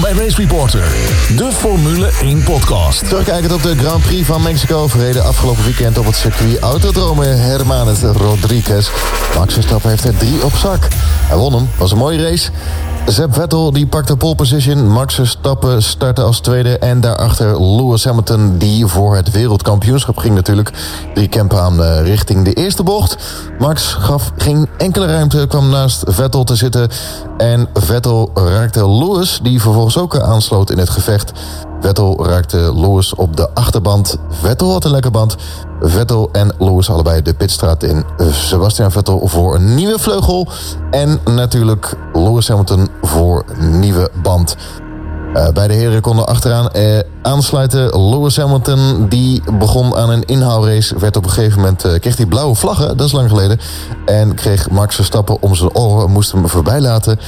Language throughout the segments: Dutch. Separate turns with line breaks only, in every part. bij Race Reporter, de Formule 1 podcast.
Terugkijkend op de Grand Prix van Mexico... verreden afgelopen weekend op het circuit Autodrome Hermanes Rodriguez. Max Verstappen heeft er drie op zak. Hij won hem, was een mooie race. Zeb Vettel die pakte pole position. Max Verstappen startte als tweede. En daarachter Lewis Hamilton die voor het wereldkampioenschap ging natuurlijk. Drie Kempen aan eh, richting de eerste bocht. Max gaf geen enkele ruimte, kwam naast Vettel te zitten. En Vettel raakte Lewis die vervolgens ook eh, aansloot in het gevecht. Vettel raakte Lewis op de achterband. Vettel had een lekker band. Vettel en Lewis allebei de pitstraat in. Sebastian Vettel voor een nieuwe vleugel. En natuurlijk Lewis Hamilton voor nieuwe band. Eh, beide heren konden achteraan eh, aansluiten. Lewis Hamilton die begon aan een inhaalrace. Werd op een gegeven moment, eh, kreeg hij blauwe vlaggen, dat is lang geleden. En kreeg Max Verstappen om zijn oren, moest hem voorbij laten.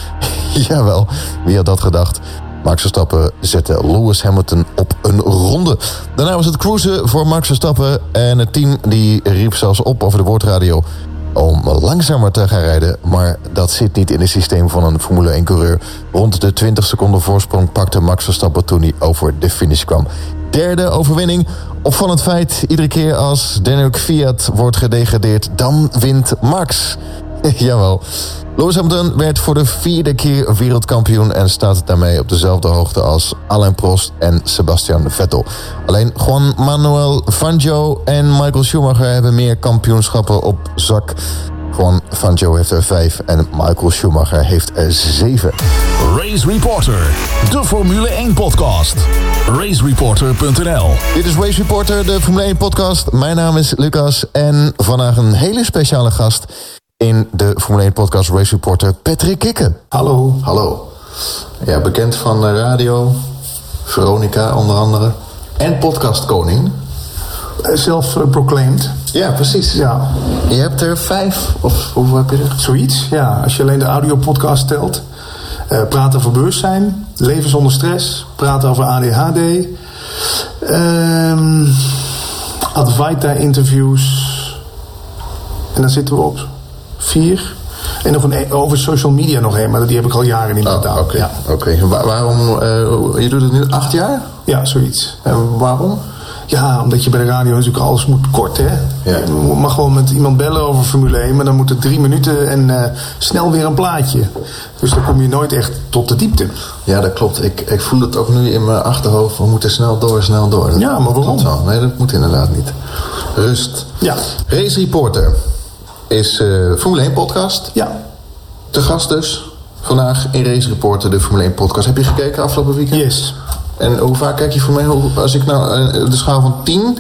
Jawel, wie had dat gedacht? Max Verstappen zette Lewis Hamilton op een ronde. Daarna was het cruisen voor Max Verstappen. En het team die riep zelfs op over de boordradio om langzamer te gaan rijden. Maar dat zit niet in het systeem van een Formule 1-coureur. Rond de 20 seconden voorsprong pakte Max Verstappen toen hij over de finish kwam. Derde overwinning. Opvallend feit, iedere keer als Danuk Fiat wordt gedegradeerd, dan wint Max. Jawel. Lewis Hamilton werd voor de vierde keer wereldkampioen en staat daarmee op dezelfde hoogte als Alain Prost en Sebastian Vettel. Alleen Juan Manuel Fangio en Michael Schumacher hebben meer kampioenschappen op zak. Juan Fangio heeft er vijf en Michael Schumacher heeft er zeven.
Race Reporter, de Formule 1 podcast. Racereporter.nl
Dit is Race Reporter, de Formule 1 podcast. Mijn naam is Lucas en vandaag een hele speciale gast in de Formule 1 podcast Race Reporter, Patrick Kikken.
Hallo.
Hallo. Ja, bekend van de radio, Veronica onder andere. En podcastkoning.
Zelf eh, proclaimed.
Ja, precies.
Ja,
Je hebt er vijf, of hoeveel heb je er?
zoiets. Ja, als je alleen de audiopodcast telt. Eh, praten over bewustzijn. Leven zonder stress. Praten over ADHD. ehm Advaita interviews. En dan zitten we op vier. En nog een e- over social media nog een, maar die heb ik al jaren niet meer
Oh,
gedaan.
oké.
Ja.
Oké. Wa- waarom, eh, je doet het nu acht jaar?
ja, zoiets.
En waarom?
Ja, omdat je bij de radio natuurlijk alles moet kort, hè?
Ja.
Je mag gewoon met iemand bellen over Formule 1, maar dan moet het drie minuten en eh, snel weer een plaatje. Dus dan kom je nooit echt tot de diepte.
Ja, dat klopt. Ik, ik voel het ook nu in mijn achterhoofd. We moeten snel door, snel door. Dat
Ja, maar
klopt
waarom?
wel. Nee, dat moet inderdaad niet. Rust.
Ja.
Race Reporter is eh Formule 1 podcast.
Ja,
Te gast dus. Vandaag in Race Reporter, de Formule 1 podcast. Heb je gekeken afgelopen weekend?
yes.
En hoe vaak kijk je voor mij, hoe- als ik nou eh, de schaal van 10,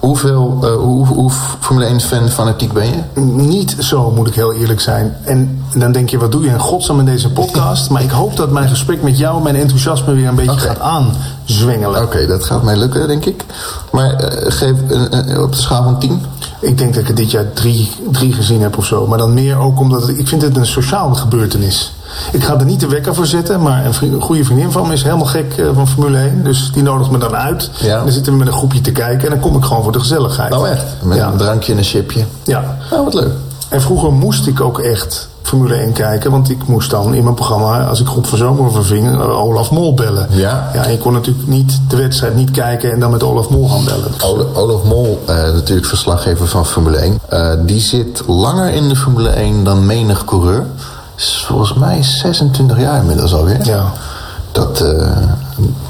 hoeveel, eh, hoe, hoe Formule 1 fan fanatiek ben je?
Niet zo, moet ik heel eerlijk zijn. En dan denk je, wat doe je in godsnaam in deze podcast? Maar ik hoop dat mijn gesprek met jou mijn enthousiasme weer een beetje
Oké.
gaat aanzwengelen.
Oké, dat gaat mij lukken, denk ik. Maar eh, geef een- een- op de schaal van 10.
Ik denk dat ik er dit jaar drie, drie gezien heb of zo. Maar dan meer ook omdat het- ik vind het een sociale gebeurtenis. Ik ga er niet de wekker voor zetten, maar een, vri- een goede vriendin van me is helemaal gek eh, van Formule 1. Dus die nodigt me dan uit.
Ja.
En dan zitten we met een groepje te kijken en dan kom ik gewoon voor de gezelligheid.
Nou echt, met
Ja.
een drankje en een chipje.
Ja.
Nou, wat leuk.
En vroeger moest ik ook echt Formule 1 kijken. Want ik moest dan in mijn programma, als ik Groep van Zomer verving, eh, Olaf Mol bellen.
Ja.
ja. En je kon natuurlijk niet de wedstrijd niet kijken en dan met Olaf Mol gaan bellen. Dus-
Ol- Olaf Mol, eh, natuurlijk verslaggever van Formule 1. eh, die zit langer in de Formule 1 dan menig coureur. Is volgens mij 26 jaar inmiddels alweer.
Ja.
Dat, eh,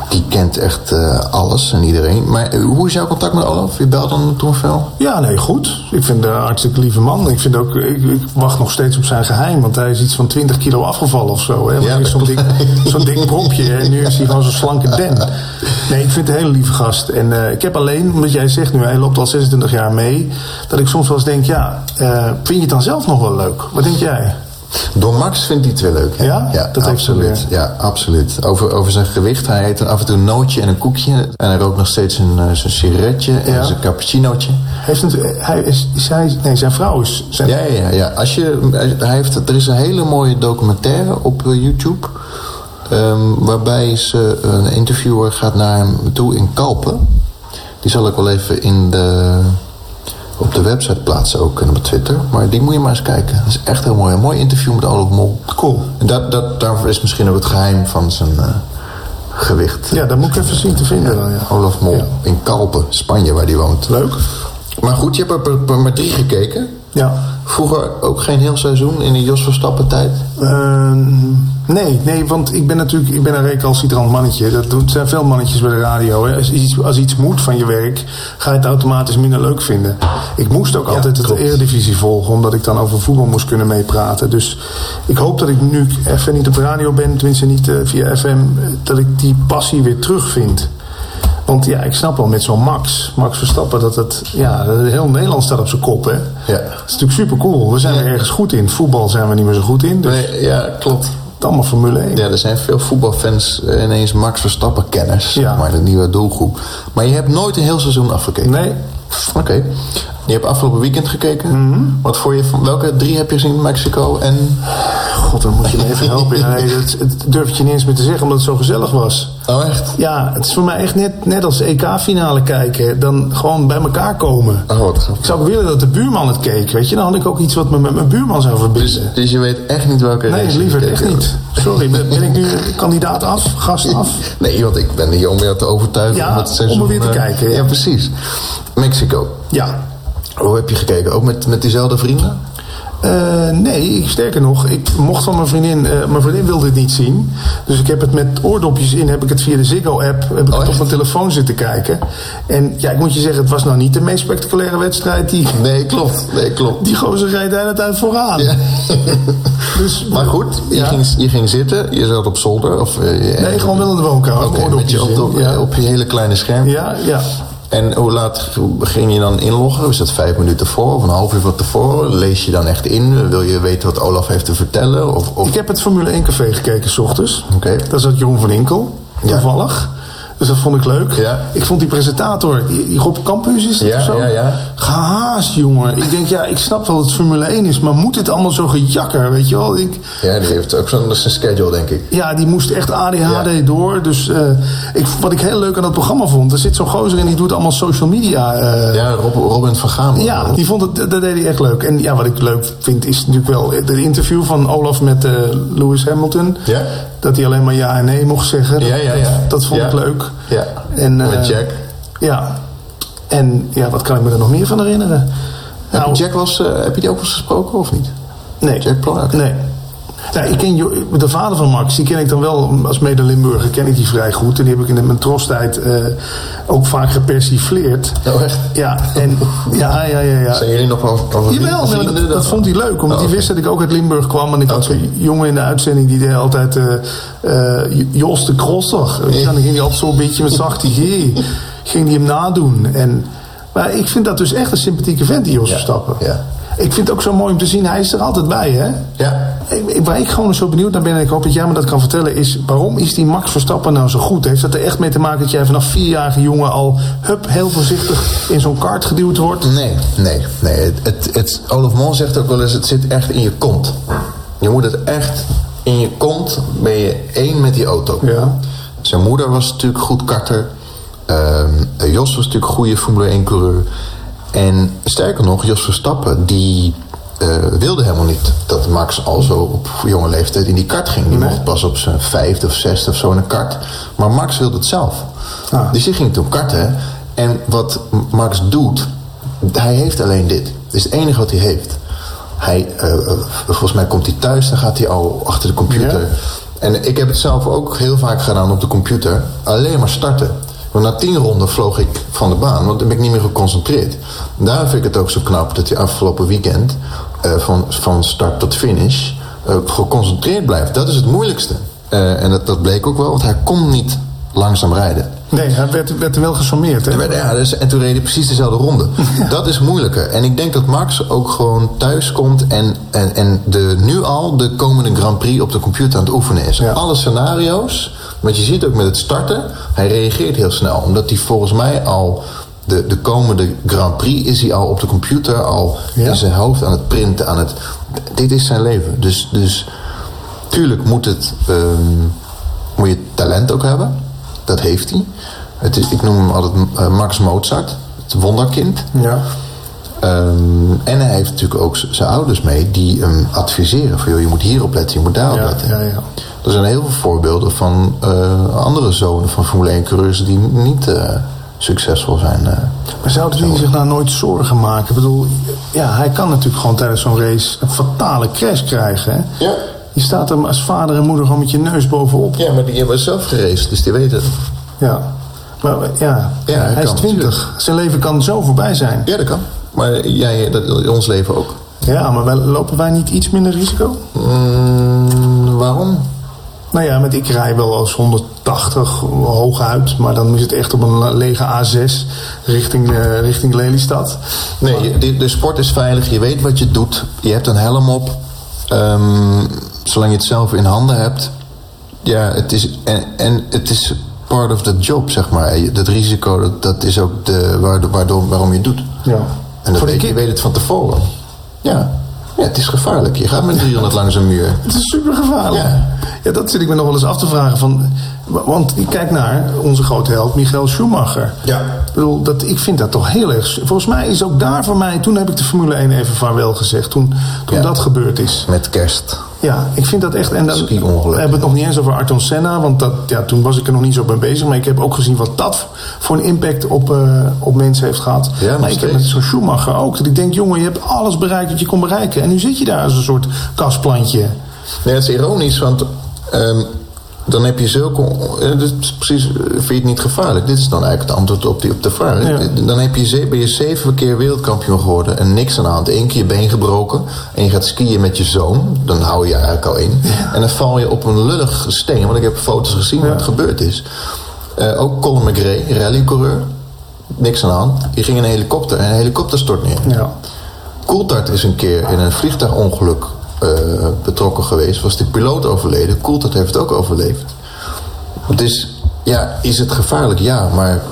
die kent echt eh, alles en iedereen. Maar eh, hoe is jouw contact met Olaf? Je belt dan toen veel?
Ja, nee, goed. Ik vind de hartstikke lieve man. Ik, vind ook, ik, ik wacht nog steeds op zijn geheim, want hij is iets van 20 kilo afgevallen of zo. Hè? Want
Ja,
hij is zo'n
dat
dik, zo'n dik prompje en nu is hij gewoon zo'n slanke den. Nee, ik vind het een hele lieve gast. En eh, ik heb alleen, omdat jij zegt nu, hij loopt al 26 jaar mee, dat ik soms wel eens denk, ja, eh, vind je het dan zelf nog wel leuk? Wat denk jij?
Door Max vindt hij het wel leuk. hè?
Ja?
ja
Dat heeft
absoluut.
ze
ja, absoluut. Over, over zijn gewicht. Hij eet dan af en toe een nootje en een koekje. En hij rookt nog steeds een, eh, zijn sigaretje en
Ja.
zijn cappuccinootje.
Heeft het, hij is, is hij, nee, zijn vrouw is... Zijn,
Ja, ja, ja. Als je, hij heeft, er is een hele mooie documentaire op eh, YouTube. ehm, waarbij ze, eh, een interviewer gaat naar hem toe in Kalpen. Die zal ik wel even in de, op de website plaatsen ook en op Twitter. Maar die moet je maar eens kijken. Dat is echt heel mooi. Een mooi interview met Olaf Mol.
Cool.
En dat, dat, daarvoor is misschien ook het geheim van zijn eh, gewicht.
Ja, dat moet ik even zien te vinden. dan, ja.
Olaf Mol
Ja.
in Kalpen, Spanje, waar die woont.
Leuk.
Maar goed, je hebt er per- per- maar drie gekeken.
Ja.
Vroeger ook geen heel seizoen in de Jos Verstappen tijd. dus-
Ehm, nee, nee, want ik ben natuurlijk ik ben een recalcitrant mannetje. Dat doen, zijn veel mannetjes bij de radio. Hè. Als, iets, als iets moet van je werk, ga je het automatisch minder leuk vinden. Ik moest ook altijd het
klopt.
Eredivisie volgen, omdat ik dan over voetbal moest kunnen meepraten. Dus ik hoop dat ik nu even niet op de radio ben, tenminste niet eh, via FM, eh, dat ik die passie weer terugvind. Want ja, ik snap wel met zo'n Max, Max Verstappen, dat het, ja, heel Nederland staat op zijn kop, hè.
Ja.
Het is natuurlijk super cool. We zijn er ergens goed in. Voetbal zijn we niet meer zo goed in. Dus
Nee, ja, klopt.
het allemaal Formule 1.
Ja, er zijn veel voetbalfans eh, ineens Max Verstappen kenners.
Ja.
Maar de nieuwe doelgroep. Maar je hebt nooit een heel seizoen afgekeken.
Nee.
Oké. Je hebt afgelopen weekend gekeken. Wat voor je van welke drie heb je gezien? Mexico en.
God, dan moet je me even helpen. Ja, nee, dat, dat durf ik je niet eens meer te zeggen, omdat het zo gezellig was.
Oh, echt?
Ja, het is voor mij echt net, net als EK-finale kijken. Dan gewoon bij elkaar komen.
Oh, wat grappig.
Ik zou ook willen dat de buurman het keek, weet je. Dan had ik ook iets wat me met mijn buurman zou
Dus,
verbinden.
dus je weet echt niet welke
Nee,
race je
liever
gekeken
echt
hebt.
niet. Sorry, ben, ben ik nu kandidaat af, gast af?
Nee, want ik ben hier om weer te overtuigen
Ja,
om het
om
seizoen...
er weer te
eh,
kijken, ja.
Ja, precies. Mexico.
Ja.
Hoe heb je gekeken? Ook met, met diezelfde vrienden?
Eh, nee, ik- sterker nog, ik mocht van mijn vriendin, eh, mijn vriendin wilde het niet zien. Dus ik heb het met oordopjes in, heb ik het via de Ziggo-app, heb ik
Oh,
het op
echt?
mijn telefoon zitten kijken. En ja, ik moet je zeggen, het was nou niet de meest spectaculaire wedstrijd. Die,
Nee, klopt. Nee, klopt.
die gozer rijdt de hele tijd vooraan.
Ja.
Dus,
maar goed, je,
Ja.
ging, je ging zitten. Je zat op zolder. Of, eh, je-
Nee, gewoon wel in de woonkamer.
Oké, met
oordopjes
je
in.
op,
ja.
op je hele kleine scherm.
ja, ja.
En hoe laat ging je dan inloggen? Is dat vijf minuten voor of een half uur van tevoren? Lees je dan echt in? Wil je weten wat Olaf heeft te vertellen? Of, of...
Ik heb het Formule 1 café gekeken s ochtends.
Oké.
Daar zat Jeroen van Inkel,
Ja.
toevallig. Dus dat vond ik leuk.
Ja.
Ik vond die presentator, die, die Rob Campus is dat
Ja,
of zo?
ja, ja.
Gehaast, jongen. Ik denk, ja, ik snap wel dat het Formule 1 is, maar moet dit allemaal zo gejakker, weet je wel? Ik,
Ja, die heeft ook zo'n dat is een schedule, denk ik.
ja, die moest echt ADHD
Ja.
door. Dus eh, ik, wat ik heel leuk aan dat programma vond, er zit zo'n gozer in die doet allemaal social media eh,
Ja, Rob, Robin van Gaam.
ja, die vond het, dat dat deed hij echt leuk. En ja, wat ik leuk vind is natuurlijk wel het interview van Olaf met eh, Lewis Hamilton.
Ja.
Dat hij alleen maar ja en nee mocht zeggen.
Ja, ja, ja.
Dat, dat vond
Ja.
ik leuk.
Ja.
En, eh,
Met Jack.
Ja. En ja, wat kan ik me er nog meer van herinneren? nou-
Heb je Jack was, heb je die ook eens gesproken of niet?
Nee.
Jack Plak?
Nee. Nou, ik ken Jo- de vader van Max, die ken ik dan wel als mede-Limburger, ken ik die vrij goed. En die heb ik in de- mijn trostijd eh, ook vaak gepersifleerd.
Oh, echt?
Ja, en, ja, ja, ja, ja.
Zijn jullie nog wel wel
Jawel, maar
vrienden
dat, dat
dan?
vond hij leuk. Omdat
Oh,
hij wist dat ik ook uit Limburg kwam. En ik
Oké.
had zo'n jongen in de uitzending die deed altijd... eh eh, J- Jos de Krosser. Weet je, Dan ging hij altijd zo'n beetje met zachte G. Ging hij hem nadoen. En, maar ik vind dat dus echt een sympathieke vent, die Jos
Ja,
Verstappen.
ja.
Ik vind het ook zo mooi om te zien. Hij is er altijd bij, hè?
Ja.
Ik- ik- Waar ik gewoon zo benieuwd naar ben, en ik hoop dat jij me dat kan vertellen, is waarom is die Max Verstappen nou zo goed? Heeft dat er echt mee te maken dat jij vanaf vierjarige jongen al hup, heel voorzichtig in zo'n kart geduwd wordt?
Nee, nee, nee. Het, het, het- Olaf Mol zegt ook wel eens, het zit echt in je kont. Je moet het echt in je kont, ben je één met die auto.
Ja.
Zijn moeder was natuurlijk goed karter. Ehm, Jos was natuurlijk goede Formule 1 coureur. En sterker nog, Jos Verstappen, die eh, wilde helemaal niet dat Max al zo op jonge leeftijd in die kart ging. Die mocht pas op zijn vijfde of zesde of zo in een kart. Maar Max wilde het zelf.
Ah.
Dus die ging toen karten. En wat M- Max doet, hij heeft alleen dit. Dit is het enige wat hij heeft. Hij, eh, eh, volgens mij komt hij thuis, dan gaat hij al achter de computer.
Ja.
En ik heb het zelf ook heel vaak gedaan op de computer. Alleen maar starten. Want na tien ronden vloog ik van de baan, want dan ben ik niet meer geconcentreerd. Daar vind ik het ook zo knap dat hij afgelopen weekend eh, van, van start tot finish eh, geconcentreerd blijft. Dat is het moeilijkste. Eh, en dat, dat bleek ook wel, want hij kon niet langzaam rijden.
Nee, hij werd, werd er wel gesommeerd. Hè?
Ja, maar ja, dus, en toen reden precies dezelfde ronde. Dat is moeilijker. En ik denk dat Max ook gewoon thuis komt en, en, en de, nu al de komende Grand Prix op de computer aan het oefenen is.
Ja.
Alle scenario's, want je ziet ook met het starten, hij reageert heel snel. Omdat hij volgens mij al de, de komende Grand Prix is hij al op de computer, al
Ja.
in zijn hoofd aan het printen. Aan het, dit is zijn leven. Dus, dus tuurlijk moet, het, ehm, moet je talent ook hebben. Dat heeft hij. Het is, ik noem hem altijd eh, Max Mozart, het wonderkind.
Ja.
Ehm, en hij heeft natuurlijk ook z- zijn ouders mee die hem adviseren. Van, joh, je moet hierop letten, je moet daarop
Ja,
letten.
ja, ja.
Er zijn heel veel voorbeelden van eh, andere zonen van Formule 1 coureurs die niet eh, succesvol zijn. eh.
Maar zou hij zich nou nooit zorgen maken? Ik bedoel, ja, hij kan natuurlijk gewoon tijdens zo'n race een fatale crash krijgen. Hè?
Ja.
Je staat hem als vader en moeder gewoon met je neus bovenop.
Ja, maar die hebben zelf geraced, dus die weten het.
Ja. Maar maar, ja,
Ja, hij
hij is
kan,
twintig.
natuurlijk.
Zijn leven kan zo voorbij zijn.
Ja, dat kan. Maar jij, dat, ons leven ook.
Ja, maar wij- lopen wij niet iets minder risico?
Mm, waarom?
Nou ja, met ik rij wel als 180 hooguit. Maar dan is het echt op een lege A6 richting, eh, richting Lelystad.
Nee, je- de, de sport is veilig. Je weet wat je doet. Je hebt een helm op. Ehm, zolang je het zelf in handen hebt. Ja, het is, en, en het is part of the job, zeg maar. Je- Dat risico, dat, dat is ook de, waardoor, waardoor- waarom je het doet.
Ja.
En dat
Voor de
weet, je
kick.
weet het van tevoren. Ja. ja, het is gevaarlijk. Je gaat met 300 langs een muur.
Het is super gevaarlijk. Ja.
Ja.
dat zit ik me nog wel eens af te vragen. Van, wa- want ik kijk naar onze grote held Michael Schumacher.
Ja.
Ik, bedoel, dat, ik vind dat toch heel erg... Volgens mij is ook daar voor mij... Toen heb ik de Formule 1 even vaarwel gezegd. Toen, toen
Ja.
dat gebeurd is.
Met kerst.
Ja, ik vind dat echt... En dan
Ski-ongeluk.
we hebben het nog niet eens over Arton Senna. Want dat, ja, toen was ik er nog niet zo mee bezig. Maar ik heb ook gezien wat dat voor een impact op, eh, op mensen heeft gehad.
Ja, nog
maar ik heb
steeds.
met zo'n Schumacher ook. Dat ik denk, jongen, je hebt alles bereikt wat je kon bereiken. En nu zit je daar als een soort kastplantje.
Nee, het is ironisch, want ehm, dan heb je zulke... eh, dat is precies, eh, vind je het niet gevaarlijk? Dit is dan eigenlijk het antwoord op, die, op de vraag.
Ja.
Dan heb je, ze- ben je zeven keer wereldkampioen geworden en niks aan de hand. Eén keer je been gebroken en je gaat skiën met je zoon. Dan hou je je eigenlijk al in. En dan val je op een lullig steen, want ik heb foto's gezien wat gebeurd is. Eh, ook Colin McRae, rallycoureur. Niks aan de hand. Die ging in een helikopter en een helikopter stort neer.
Ja.
Coulthard is een keer in een vliegtuigongeluk eh, betrokken geweest. Was de piloot overleden. Coulthard heeft het ook overleefd. Dus ja, is het gevaarlijk? Ja, maar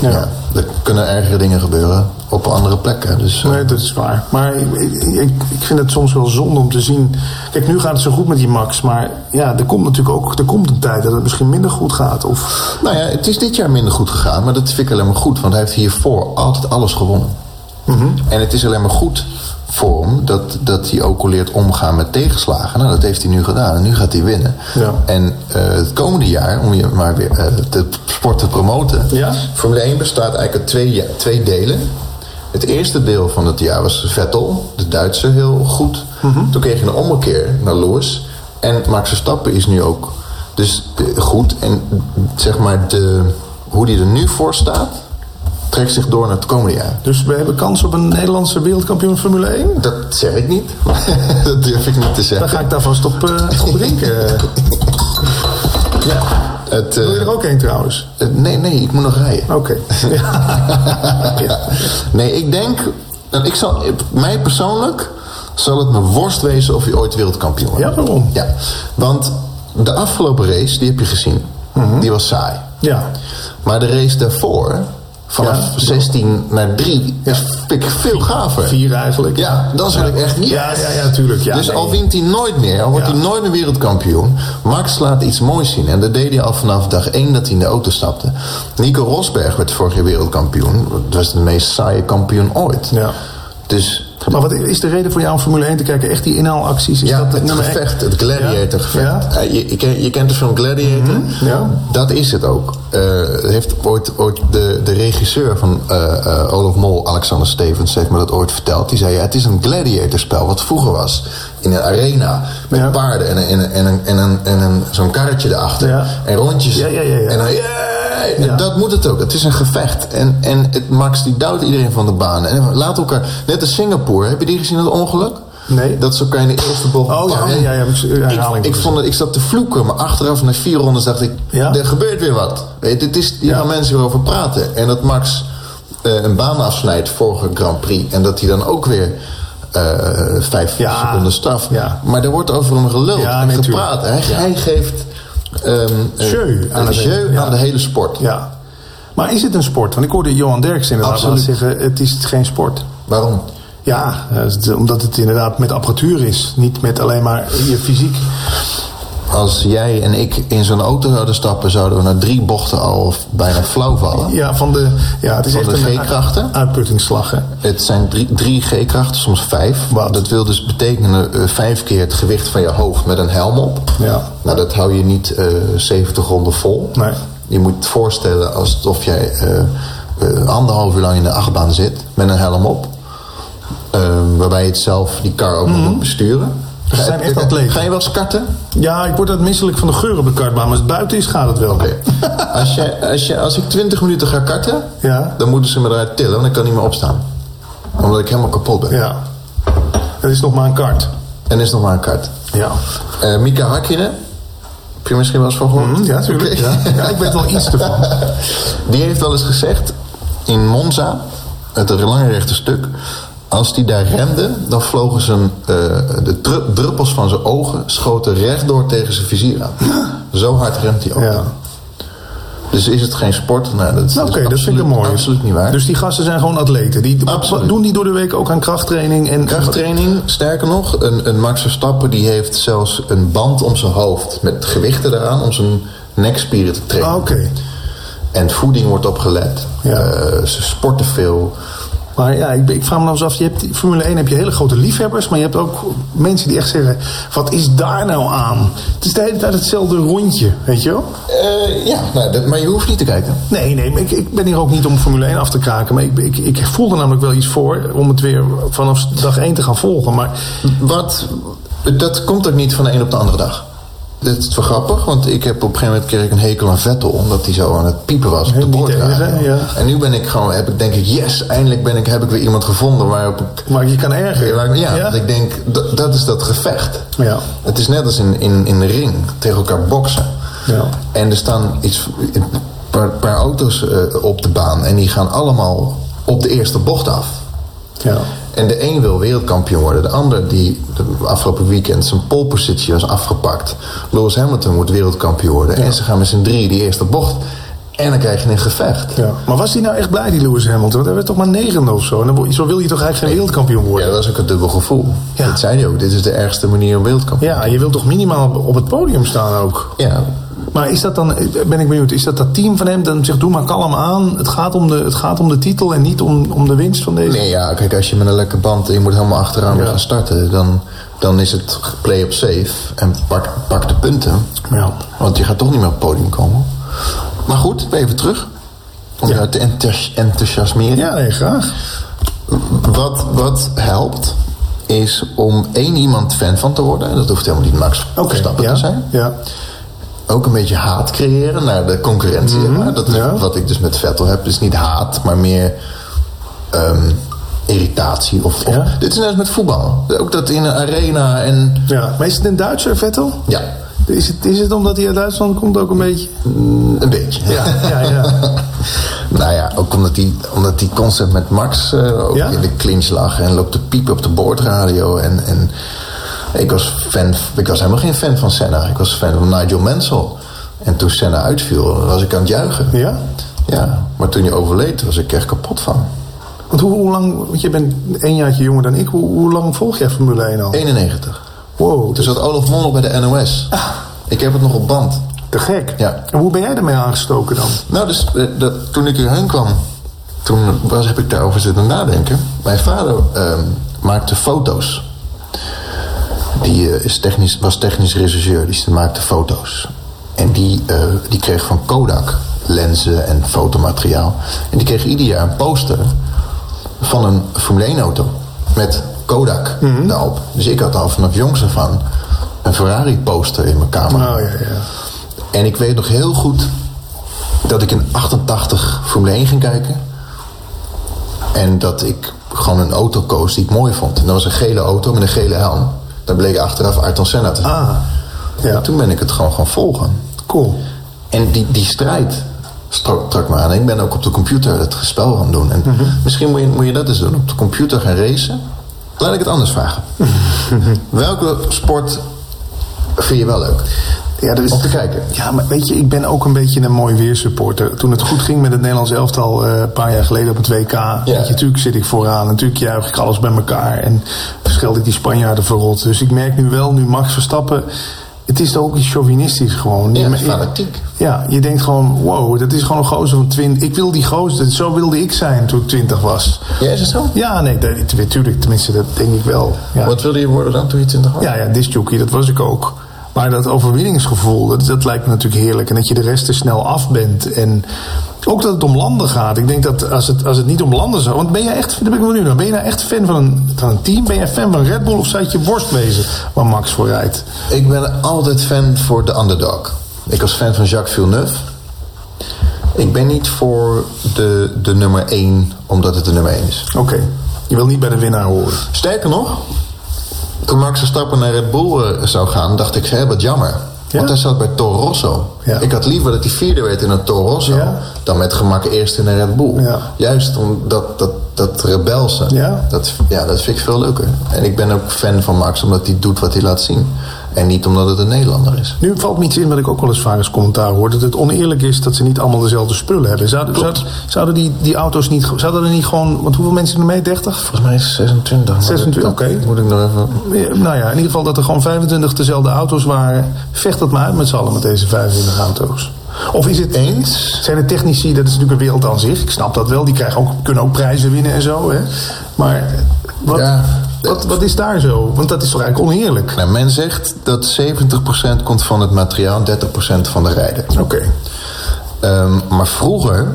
Ja.
ja. er kunnen ergere dingen gebeuren op andere plekken. Dus, eh,
Nee, dat is waar. Maar ik, ik, ik vind het soms wel zonde om te zien. Kijk, nu gaat het zo goed met die Max. Maar ja, er komt natuurlijk ook er komt een tijd dat het misschien minder goed gaat. Of,
Nou ja, het is dit jaar minder goed gegaan, maar dat vind ik alleen maar goed. Want hij heeft hiervoor altijd alles gewonnen. En het is alleen maar goed voor hem dat, dat hij ook leert omgaan met tegenslagen. Nou, dat heeft hij nu gedaan en nu gaat hij winnen.
Ja.
En eh, het komende jaar, om je maar weer eh, de sport te promoten...
Ja.
Formule 1 bestaat eigenlijk uit twee, ja- twee delen. Het eerste deel van het jaar was Vettel, de Duitse, heel goed.
Mhm.
Toen kreeg je een ommekeer naar Lewis. En Max Verstappen is nu ook dus eh, goed. En zeg maar, de, hoe die er nu voor staat, trekt zich door naar het komende jaar.
dus we hebben kans op een Nederlandse wereldkampioen Formule 1.
Dat zeg ik niet. dat durf ik niet te
Dan
zeggen.
ga ik daar vast op, eh, op drinken.
Ja. Het, eh,
Wil je er ook één trouwens?
het- nee, nee, ik moet nog rijden.
Oké.
ja. Nee, ik denk. en Ik zal, mij persoonlijk zal het mijn worst wezen of je ooit wereldkampioen wordt.
Ja, waarom?
Ja, want de afgelopen race, die heb je gezien.
Mhm.
Die was saai.
Ja.
Maar de race daarvoor, vanaf
Ja.
16 naar 3, is vind ik veel gaver.
Vier eigenlijk.
Ja, dan zal ik echt niet.
Ja, ja, ja, tuurlijk. Ja,
dus
nee.
al wint hij nooit meer, al wordt
Ja.
hij nooit een wereldkampioen. Max laat iets moois zien. En dat deed hij al vanaf dag 1 dat hij in de auto stapte. Nico Rosberg werd vorig jaar wereldkampioen. Dat was de meest saaie kampioen ooit.
Ja.
Dus
Maar wat is de reden voor jou om Formule 1 te kijken? Echt die inhaalacties? Is
ja,
dat
het
nummer één?
gevecht, het gladiatorgevecht.
Ja? Mhm,
Eh, je, je, ken- je kent de film Gladiator.
Ja.
Dat is het ook. Eh, heeft ooit, ooit de, de regisseur van eh, eh, Olaf Mol, Alexander Stevens, heeft me dat ooit verteld. Die zei, ja, het is een gladiatorspel wat vroeger was. In een arena, met
Ja.
paarden en, een- en, een- en, een- en, een- en een- zo'n karretje erachter.
Ja.
En rondjes.
Ja, ja, ja, ja.
En dan, "Yeah!" En
Ja.
dat moet het ook. Het is een gevecht. En, en het, Max die duwt iedereen van de baan. En laat elkaar... Net als Singapore, heb je die gezien, dat ongeluk?
Nee.
Dat ze elkaar in de eerste bocht
Oh, ja, ja, ja, herhaling.
ik, ik, vond het, ik zat te vloeken, maar achteraf na vier rondes dacht ik,
Ja?
er gebeurt weer wat. Weet, je, het is, hier
Ja.
gaan mensen weer over praten. En dat Max eh, een baan afsnijdt vorige Grand Prix. En dat hij dan ook weer eh, vijf
Ja.
seconden straf.
Ja.
Maar er wordt over hem geluld
Ja,
en
nee,
gepraat. Hij, hij geeft ehm, eh,
Jeu aan
een
het-
jeu
ja.
aan de hele sport.
Ja. Maar is het een sport? Want ik hoorde Johan Derksen inderdaad
Absoluut.
laatst zeggen... het is geen sport.
Waarom?
Ja, eh, omdat het inderdaad met apparatuur is. Niet met alleen maar je fysiek.
als jij en ik in zo'n auto zouden stappen, zouden we na drie bochten al of bijna flauw vallen.
Ja, van de, ja, het is
Van
echt
de
een
G-krachten?
uitputtingsslag. Hè?
Het zijn drie, drie G-krachten, soms vijf.
Wat?
Dat wil dus betekenen eh, vijf keer het gewicht van je hoofd met een helm op.
Ja.
Nou, dat hou je niet eh 70 ronden vol.
Nee.
Je moet het voorstellen alsof jij eh, eh, anderhalf uur lang in de achtbaan zit met een helm op. Eh, waarbij je het zelf, die kar ook nog moet besturen.
Mhm. Dus Ze
Ga-
zijn echt atleten.
Ga je wel skarten?
Ja, ik word dat misselijk van de geur op de kartbaan, maar als het buiten is, gaat het wel.
Oké. als, je, als, je, als ik 20 minuten ga karten,
Ja.
dan moeten ze me eruit tillen, want ik kan niet meer opstaan. Omdat ik helemaal kapot ben.
Ja. Het is nog maar een kart.
En is nog maar een kart.
Ja.
Eh, Mika Hakkinen, heb je misschien wel eens van gehoord?
Hm, ja, tuurlijk.
Oké.
Ja. Ja, ik weet wel iets ervan.
Die heeft wel eens gezegd in Monza, het lange rechte stuk. Als die daar remde, dan vlogen zijn, eh, de dru- druppels van zijn ogen schoten rechtdoor tegen zijn vizier aan. Zo hard remt hij ook.
Ja.
Dus is het geen sport? Nou, dat,
Nou,
is
Oké, dat vind ik
absoluut-
mooi.
Absoluut niet waar.
Dus die gasten zijn gewoon atleten. Die
Absoluut.
doen die door de week ook aan krachttraining en
Krachttraining, sterker nog, een, een Max Verstappen die heeft zelfs een band om zijn hoofd met gewichten eraan om zijn nekspieren te trainen.
Ah, oké.
En voeding wordt opgelet.
Ja.
Eh, ze sporten veel.
Maar ja, ik, ik vraag me nou eens af, je hebt, Formule 1 heb je hele grote liefhebbers, maar je hebt ook mensen die echt zeggen, wat is daar nou aan? Het is de hele tijd hetzelfde rondje, weet je wel?
Eh, ja, nou, dat, maar je hoeft niet te kijken.
Nee, nee, maar ik, ik ben hier ook niet om Formule 1 af te kraken, maar ik, ik, ik voel er namelijk wel iets voor om het weer vanaf dag 1 te gaan volgen. Maar
Wat, dat komt ook niet van de een op de andere dag. Dat is wel grappig, want ik heb op een gegeven moment kreeg ik een hekel aan Vettel... omdat hij zo aan het piepen was op
Heel
de
niet
boordradio.
erg, hè? Ja.
En nu ben ik gewoon, heb ik denk ik, yes, eindelijk ben ik, heb ik weer iemand gevonden waarop ik...
Waar ik je kan ergeren.
Waar ik- ja,
Ja.
dat ik denk, dat- dat is dat gevecht.
Ja.
Het is net als in, in, in de ring, tegen elkaar boksen.
Ja.
En er staan iets, een paar, paar auto's eh, op de baan en die gaan allemaal op de eerste bocht af.
ja,
En de een wil wereldkampioen worden. De ander die de afgelopen weekend zijn polepositie was afgepakt. Lewis Hamilton moet wereldkampioen worden. En ze gaan met z'n drieën die eerste bocht. En dan krijg je een gevecht.
ja. Maar was hij nou echt blij, die Lewis Hamilton? Want hij werd toch maar negende of zo. En dan word je- zo wil je toch eigenlijk geen wereldkampioen
Ja,
worden?
dat was ook een dubbel gevoel.
Ja.
Dat zei hij ook. Dit is de ergste manier om wereldkampioen
Ja, je wilt toch minimaal op- op het podium staan ook?
te worden.
Maar is dat dan, ben ik benieuwd, is dat dat team van hem dan zegt, doe maar kalm aan. Het gaat om de, het gaat om de titel en niet om, om de winst van deze.
Ja. Nee, ja, kijk, als je met een lekker band... en je moet helemaal achteraan weer
Ja.
gaan starten... dan, dan is het play op safe en pak, pak de punten.
Ja.
Want je gaat toch niet meer op het podium komen. Maar goed, even terug. Om jou te enthousi- enthousiasmeren.
Ja, nee, graag.
Wat, wat helpt is om één iemand fan van te worden. En dat hoeft helemaal niet Max
Oké,
Verstappen
ja,
te zijn.
ja.
Ook een beetje haat creëren naar de concurrentie. zeg maar. Dat is
Mhm. ja.
wat ik dus met Vettel heb. Dus niet haat, maar meer ehm, irritatie. Of, of-
Ja.
Dit is net als met voetbal. Ook dat in een arena en...
ja. Maar is het een Duitser, Vettel?
Ja,
Is het, is het omdat hij uit Duitsland komt ook een beetje?
mm, een beetje.
ja, ja.
nou ja, ook omdat die, omdat die concept met Max eh, ook
Ja?
in de clinch lag en loopt te piepen op de boordradio. En, en ik, was fan, ik was helemaal geen fan van Senna. Ik was fan van Nigel Mansell. En toen Senna uitviel, was ik aan het juichen.
Ja?
Ja, maar toen hij overleed, was ik echt kapot van.
Want hoe, hoe lang, want je bent een jaartje jonger dan ik, hoe, hoe lang volg jij Formule 1 al?
91.
Wow,
Toen
dus
zat Olaf Mol bij de NOS. Ik heb het nog op band.
te gek.
Ja.
En hoe ben jij ermee aangestoken dan?
Nou, dus eh, dat, toen ik hierheen kwam, toen was, heb ik daarover zitten nadenken. Mijn vader ehm, maakte foto's. Die eh, is technisch, was technisch regisseur, die maakte foto's. En die, eh, die kreeg van Kodak lenzen en fotomateriaal. En die kreeg ieder jaar een poster van een Formule 1 auto. Met Kodak
Mhm.
daarop. Dus ik had al vanaf jongs af aan een Ferrari poster in mijn kamer.
Oh, ja, ja.
En ik weet nog heel goed dat ik in 88 Formule 1 ging kijken. En dat ik gewoon een auto koos die ik mooi vond. En dat was een gele auto met een gele helm. Dat bleek achteraf Ayrton Senna te zijn.
Ah, ja.
En Toen ben ik het gewoon gaan volgen.
Cool.
En die, die strijd strak, trak me aan. Ik ben ook op de computer het spel gaan doen. En
Mhm.
Misschien moet je, moet je dat eens doen. Op de computer gaan racen. Laat ik het anders vragen. Welke sport vind je wel leuk?
Ja, er is
Om te kijken.
Ja, maar weet je, ik ben ook een beetje een mooi weersupporter. Toen het goed ging met het Nederlands elftal eh, een paar jaar geleden op het WK. weet je, natuurlijk zit ik vooraan. Natuurlijk juich ik alles bij elkaar. En verschilt ik die Spanjaarden verrot. Dus ik merk nu wel, nu Max Verstappen het is toch ook iets chauvinistisch gewoon.
Ja,
Je-
het is
je-
fanatiek.
Ja, je denkt gewoon, wow, dat is gewoon een gozer van 20. Ik wil die gozer, zo wilde ik zijn toen ik 20 was.
Ja, is het zo?
Ja, nee, dat, natuurlijk, tenminste, dat denk ik wel. Ja.
Wat wilde je worden dan toen je 20 was?
Ja, ja, discjockey, dat was ik ook. Maar dat overwinningsgevoel, dat, dat lijkt me natuurlijk heerlijk. En dat je de rest er snel af bent. En ook dat het om landen gaat. Ik denk dat als het, als het niet om landen zou... Want ben jij echt, daar ben ik benieuwd naar. Ben je nou echt fan van een, van een team? Ben jij fan van Red Bull of zou het je worst wezen waar Max voor rijdt?
Ik ben altijd fan voor de underdog. Ik was fan van Jacques Villeneuve. Ik ben niet voor de, de nummer 1, omdat het de nummer 1 is.
Oké, je wil niet bij de winnaar horen.
Sterker nog, toen Max Verstappen naar Red Bull eh, zou gaan, dacht ik, hé, wat jammer. Want hij zat bij Toro Rosso.
Ja.
Ik had liever dat hij vierde werd in een Toro Rosso...
Ja.
dan met gemak eerst in een Red Bull.
Ja.
Juist omdat dat, dat rebelse,
Ja.
Dat, ja, dat vind ik veel leuker. En ik ben ook fan van Max, omdat hij doet wat hij laat zien. En niet omdat het een Nederlander is.
Nu valt me iets in wat ik ook wel eens vaak als commentaar hoor. Dat het oneerlijk is dat ze niet allemaal dezelfde spullen hebben. Zouden, zouden, zouden die, die auto's niet... Zouden er niet gewoon... Want hoeveel mensen doen er mee? 30?
Volgens mij is het 26. maar
26,
dat- dat
oké.
Moet ik nog even...
Ja, Nou ja, in ieder geval dat er gewoon 25 dezelfde auto's waren. Vecht dat maar uit met z'n allen met deze 25 auto's. Of is het eens? Zijn de technici, dat is natuurlijk een wereld aan zich. Ik snap dat wel, die krijgen ook, kunnen ook prijzen winnen en zo. Hè? Maar wat,
Ja.
wat, wat is daar zo? Want dat is toch eigenlijk oneerlijk?
Nou, men zegt dat 70% komt van het materiaal, 30% van de rijder.
Oké.
Ehm, maar vroeger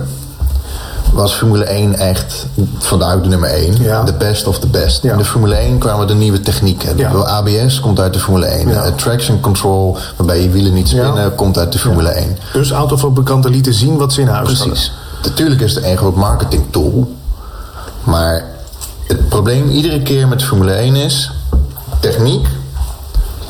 was Formule 1 echt vandaag de nummer 1.
Ja.
De best of the best.
Ja.
In de Formule 1 kwamen de nieuwe technieken.
Ja.
De ABS komt uit de Formule 1.
Ja.
Eh, traction control, waarbij je wielen niet spinnen,
Ja.
komt uit de Formule 1.
Dus autofabrikanten lieten zien wat ze in huis hadden.
Precies. Natuurlijk is het een groot marketingtool. Maar het probleem iedere keer met Formule 1 is... techniek,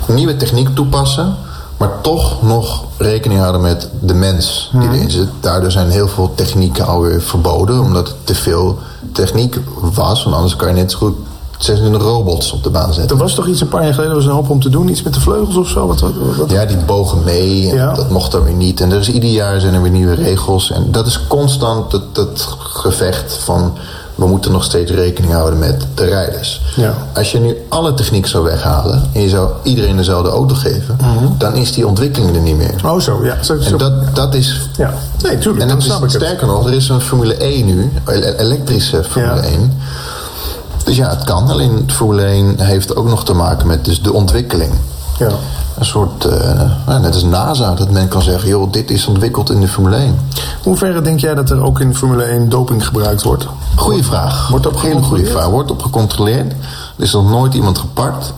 nieuwe techniek toepassen... maar toch nog rekening houden met de mens die erin zit. Daardoor zijn heel veel technieken alweer verboden... omdat het te veel techniek was. Want anders kan je net zo goed 26 robots op de baan zetten.
Er was toch iets een paar jaar geleden, er was een hoop om te doen. Iets met de vleugels of zo? Wat, wat, wat-
Ja, die bogen mee en
Ja.
dat mocht dan weer niet. En er is ieder jaar zijn er weer nieuwe regels. En dat is constant dat, dat gevecht van... we moeten nog steeds rekening houden met de rijders.
Ja.
Als je nu alle techniek zou weghalen... en je zou iedereen dezelfde auto geven... dan is die ontwikkeling er niet meer.
Oh zo, ja. Mhm. Zo, zo-
En dat, dat is...
Ja. Nee, tuurlijk,
En
dan
dat is,
snap ik het.
sterker nog, er is een Formule 1 nu. ele- Elektrische Formule
Ja.
1. Dus ja, het kan. Alleen Formule 1 heeft ook nog te maken met dus de ontwikkeling.
ja.
Een soort, eh, nou, net als NASA, dat men kan zeggen... joh, dit is ontwikkeld in de Formule 1.
Hoe verre denk jij dat er ook in Formule 1 doping gebruikt wordt?
Goeie vraag.
Wordt op
Hele goede
gecontroleerd?
vraag. Wordt op gecontroleerd. Er is nog nooit iemand gepakt.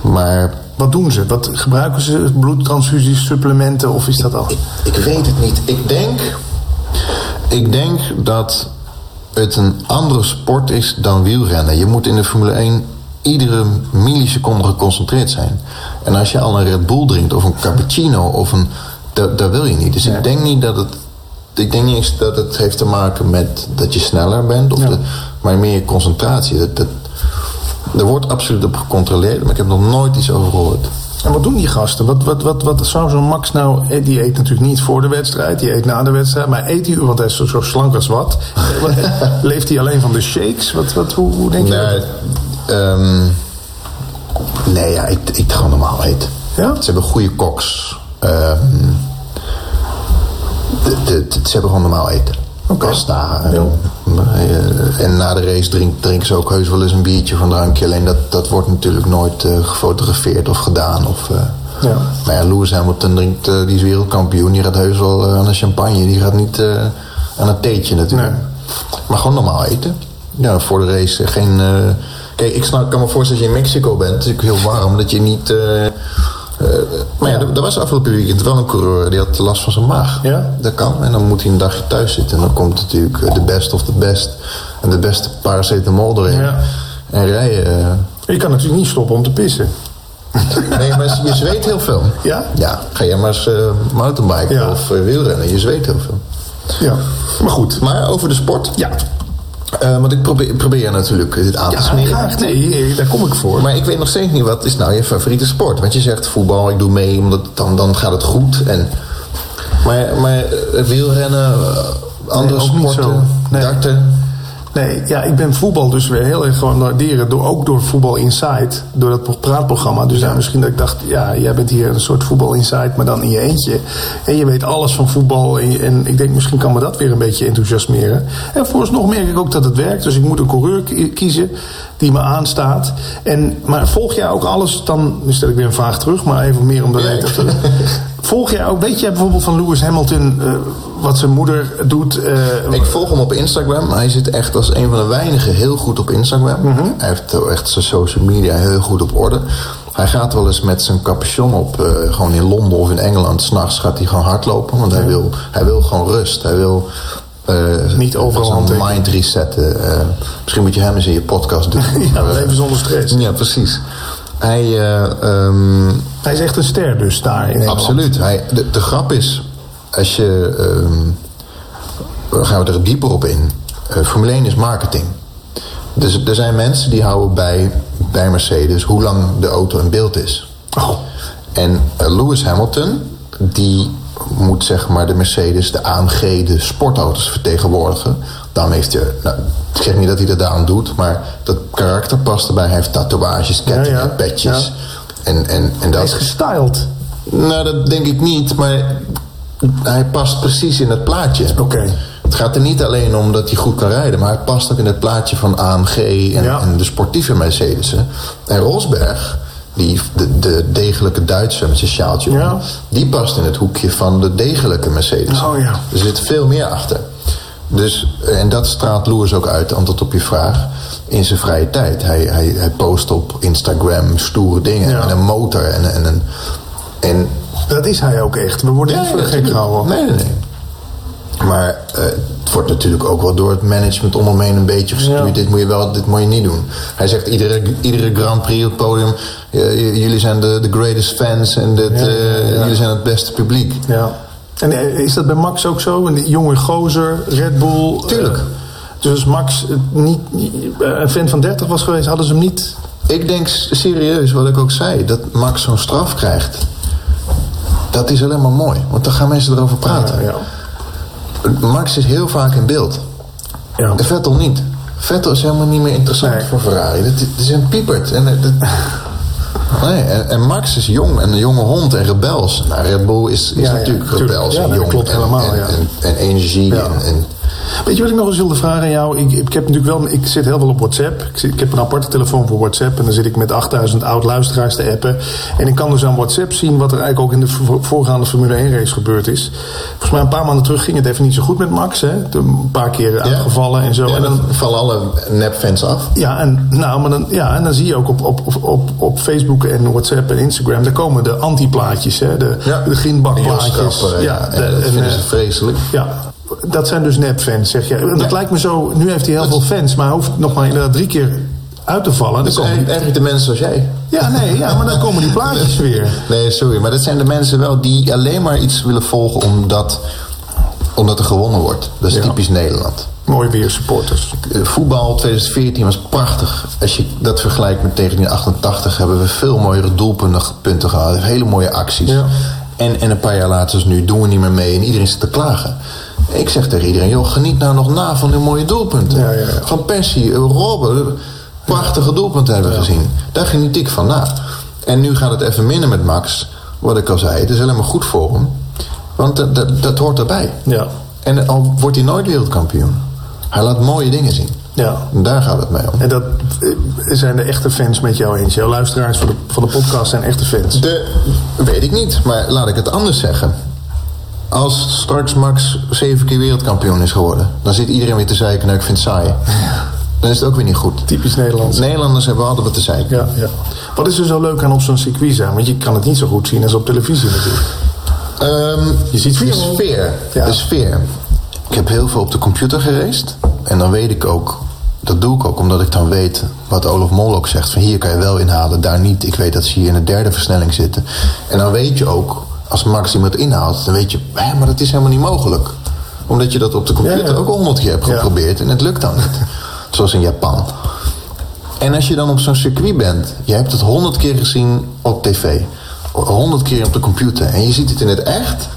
Maar
Wat doen ze? Wat gebruiken ze? Bloedtransfusies, supplementen of is dat al?
ik, ik weet het niet. Ik denk, ik denk dat het een andere sport is dan wielrennen. Je moet in de Formule 1 iedere milliseconde geconcentreerd zijn. En als je al een Red Bull drinkt of een cappuccino of een... da- Daar wil je niet. Dus ik denk niet dat het... Ik denk niet eens dat het heeft te maken met dat je sneller bent. Of de- maar meer concentratie. Dat, dat, er wordt absoluut op gecontroleerd. Maar ik heb nog nooit iets over gehoord.
En wat doen die gasten? Wat, wat, wat, wat zou zo'n Max nou... eh, Die eet natuurlijk niet voor de wedstrijd, die eet na de wedstrijd. Maar eet hij, want hij is zo, zo slank als wat. Eh, wat- Leeft hij alleen van de shakes? Wat, wat, hoe, hoe denk je
Nee,
dat?
ehm, nee ja, ik, ik gewoon normaal eten.
Ja?
Ze hebben goede koks. Ehm, de- de- de- ze hebben gewoon normaal eten.
Oké.
Pasta. En, eh, en na de race drink- drinken ze ook heus wel eens een biertje van drankje. Alleen dat, dat wordt natuurlijk nooit eh, gefotografeerd of gedaan. Of, eh,
Ja.
Maar ja, Lewis Hamilton drinkt, eh, die is wereldkampioen. Die gaat heus wel eh, aan een champagne. Die gaat niet eh, aan een theetje natuurlijk.
Nee.
Maar gewoon normaal eten. Ja, voor de race geen... eh, Kijk, ik snap, kan me voorstellen dat je in Mexico bent. Het is natuurlijk heel warm, dat je niet... eh, eh, maar ja, er, er was afgelopen weekend wel een coureur die had last van zijn maag.
Ja?
Dat kan. En dan moet hij een dagje thuis zitten. En dan komt natuurlijk eh, de best of de best. En de beste paracetamol erin.
Ja.
En rijden. eh.
Je kan natuurlijk niet stoppen om te pissen.
Nee, maar je zweet heel veel.
Ja?
Ja. Ga jij maar eens eh, mountainbiken
Ja.
of eh, wielrennen. Je zweet heel veel.
Ja, maar goed.
Maar over de sport.
Ja,
Eh, want ik probeer, probeer natuurlijk dit aan te
ja
smeren.
graag. Nee, daar kom ik voor.
Maar ik weet nog steeds niet wat is nou je favoriete sport. Want je zegt voetbal, ik doe mee, omdat dan, dan gaat het goed. En, maar, maar eh, wielrennen, eh, andere
ook niet
sporten,
zo. Nee.
darten.
Nee, ja, ik ben voetbal dus weer heel erg gaan waarderen. Door, ook door Voetbal Insight, door dat praatprogramma. Dus ja, misschien dat ik dacht, ja, jij bent hier een soort Voetbal Insight, maar dan in je eentje. En je weet alles van voetbal. En, je- en ik denk, misschien kan me dat weer een beetje enthousiasmeren. En vooralsnog merk ik ook dat het werkt. Dus ik moet een coureur ki- kiezen die me aanstaat. En, maar volg jij ook alles, dan nu stel ik weer een vraag terug, maar even meer om de reden. Volg jij ook, weet jij bijvoorbeeld van Lewis Hamilton eh, wat zijn moeder doet? eh,
Ik volg hem op Instagram. Hij zit echt als een van de weinigen heel goed op Instagram.
Mhm.
Hij heeft wel echt zijn social media heel goed op orde. Hij gaat wel eens met zijn capuchon op, eh, gewoon in Londen of in Engeland. S'nachts gaat hij gewoon hardlopen, want hij, wil, hij wil gewoon rust. Hij wil eh,
Niet overal
zijn
handtekening.
mind resetten. Eh, misschien moet je hem eens in je podcast doen. Eh,
ja, leven zonder stress.
ja, precies. Hij, eh, ehm,
Hij is echt een ster dus daar in Nederland.
Absoluut. Hij, de, de grap is, als je. ehm, dan gaan we er dieper op in. Eh, Formule 1 is marketing. Dus er zijn mensen die houden bij, bij Mercedes hoe lang de auto in beeld is.
Oh,
En eh, Lewis Hamilton, die moet zeg maar de Mercedes, de AMG, de sportauto's vertegenwoordigen. Daarom heeft hij, nou, ik zeg niet dat hij dat daarom doet, maar dat karakter past erbij. Hij heeft tatoeages, kettingen,
Ja, ja.
petjes.
Ja.
En, en, en dat
Hij is gestyled.
nou, dat denk ik niet, maar hij past precies in het plaatje.
Oké.
Het gaat er niet alleen om dat hij goed kan rijden, maar hij past ook in het plaatje van AMG en,
Ja.
en de sportieve Mercedes'en. En Rosberg, die, de, de degelijke Duitse met zijn sjaaltje om,
Ja.
die past in het hoekje van de degelijke Mercedes.
Oh ja.
Er zit veel meer achter. Dus, en dat straalt Loers ook uit, antwoord op je vraag, in zijn vrije tijd. Hij, hij, hij post op Instagram stoere dingen
Ja.
en een motor en, en een. En
Dat is hij ook echt. We worden niet voor de gek
natuurlijk.
gehouden.
Nee, nee, nee. Maar eh, het wordt natuurlijk ook wel door het management om hem heen een beetje gestuurd.
Ja.
Dit moet je wel, dit moet je niet doen. Hij zegt iedere, iedere Grand Prix op het podium... eh, j- jullie zijn de, de greatest fans en dit,
Ja,
eh,
ja.
jullie zijn het beste publiek.
Ja. En eh, is dat bij Max ook zo? Een jonge gozer, Red Bull.
Tuurlijk.
eh, dus als Max eh, niet, eh, een fan van 30 was geweest, hadden ze hem niet.
Ik denk s- serieus, wat ik ook zei, dat Max zo'n straf krijgt. Dat is alleen maar mooi, want dan gaan mensen erover praten.
Ja,
Max is heel vaak in beeld.
ja.
En Vettel niet. Vettel is helemaal niet meer interessant
Nee.
voor Ferrari. Dat, dat is een piepert. En, eh, dat- nee, en, en Max is jong en een jonge hond en rebels. Nou, Red Bull is, is
Ja, ja,
natuurlijk
tuurlijk.
rebels
Ja,
en
dat
jong.
klopt
en,
helemaal,
en,
ja.
en, en energie.
Ja.
En, en,
Weet je wat ik nog eens wilde vragen aan jou? Ik, ik heb natuurlijk wel, ik zit heel veel op WhatsApp. Ik, zit- ik heb een aparte telefoon voor WhatsApp. En dan zit ik met 8000 oud luisteraars te appen. En ik kan dus aan WhatsApp zien wat er eigenlijk ook in de vo- voorgaande Formule 1 race gebeurd is. Volgens mij een paar maanden terug ging het even niet zo goed met Max. Hè? Een paar keer uitgevallen en zo.
Ja,
en dan,
dan vallen alle nepfans af.
ja, en, nou, maar dan, ja, en dan zie je ook op, op, op- op, op Facebook en WhatsApp en Instagram... daar komen de anti-plaatjes, hè, de, de grindbakplaatjes.
Ja,
Ja,
en dat
en,
vinden
eh,
ze vreselijk.
ja, dat zijn dus nepfans, zeg je. En Dat lijkt me zo, nu heeft hij heel veel fans... maar hij hoeft nog maar inderdaad drie keer uit te vallen. Dan
Dat
komen
zijn
die-
Dus eigenlijk de mensen zoals jij.
ja, nee, ja, maar dan komen die plaatjes weer.
Nee, sorry. Maar dat zijn de mensen wel die alleen maar iets willen volgen omdat, omdat er gewonnen wordt. Dat is
Ja.
typisch Nederland.
Mooi weer, supporters.
Eh, voetbal 2014 was prachtig. Als je dat vergelijkt met 1988 hebben we veel mooiere doelpunten punten gehad. Hele mooie acties.
Ja.
En, en een paar jaar later, dus nu, doen we niet meer mee en iedereen zit te klagen. Ik zeg tegen iedereen, joh, geniet nou nog na van die mooie doelpunten.
Ja, ja, ja.
Van Persie, eh, Robben, prachtige doelpunten hebben we gezien. Daar geniet ik van na. En nu gaat het even minder met Max. Wat ik al zei, het is helemaal goed voor hem. Want dat, dat, dat hoort erbij.
Ja.
En al wordt hij nooit wereldkampioen. Hij laat mooie dingen zien.
Ja.
En daar gaat het mee om.
En dat eh, zijn de echte fans met jou eens. Jouw luisteraars van de, van de podcast zijn echte fans.
De, weet ik niet, maar laat ik het anders zeggen. Als straks Max zeven keer wereldkampioen is geworden... dan zit iedereen weer te zeiken, nou ik vind het saai. Dan is het ook weer niet goed.
Typisch Nederlands.
Nederlanders hebben altijd wat te zeiken.
Ja, ja. Wat is er zo leuk aan op zo'n circuit zijn? Want je kan het niet zo goed zien als op televisie natuurlijk.
Ehm,
Je ziet
de
veel.
sfeer.
Ja.
De sfeer. Ik heb heel veel op de computer geraced. En dan weet ik ook, dat doe ik ook omdat ik dan weet wat Olaf Mol ook zegt. Van hier kan je wel inhalen, daar niet. Ik weet dat ze hier in de derde versnelling zitten. En dan weet je ook, als Max iemand inhaalt, dan weet je, hè, maar dat is helemaal niet mogelijk. Omdat je dat op de computer
Ja, ja.
ook al honderd keer hebt
Ja.
geprobeerd en het lukt dan niet. Zoals in Japan. En als je dan op zo'n circuit bent, je hebt het honderd keer gezien op tv, honderd keer op de computer en je ziet het in het echt.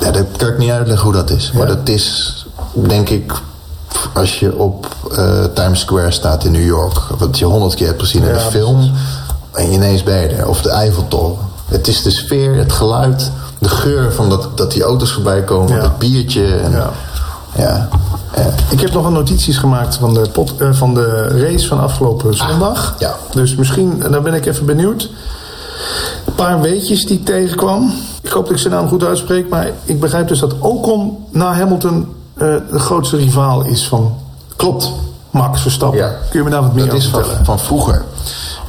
Ja, dat kan ik niet uitleggen hoe dat is. Maar
Ja.
dat is, denk ik, of als je op eh, Times Square staat in New York. Wat je honderd keer hebt gezien in
Ja,
een film. En ineens ben je er. Of de Eiffeltoren. Het is de sfeer, het geluid, de geur van dat, dat die auto's voorbij komen.
Ja.
Het biertje. En,
Ja.
ja. Eh,
Ik heb nogal notities gemaakt van de, pot, eh, van de race van afgelopen zondag.
Ah, ja.
Dus misschien, daar ben ik even benieuwd. Een paar weetjes die ik tegenkwam. Ik hoop dat ik zijn naam goed uitspreek. Maar ik begrijp dus dat Ocon na Hamilton eh, de grootste rivaal is van
klopt.
Max Verstappen.
Ja.
Kun je me daar wat meer
Dat
over
is van,
vertellen?
van vroeger.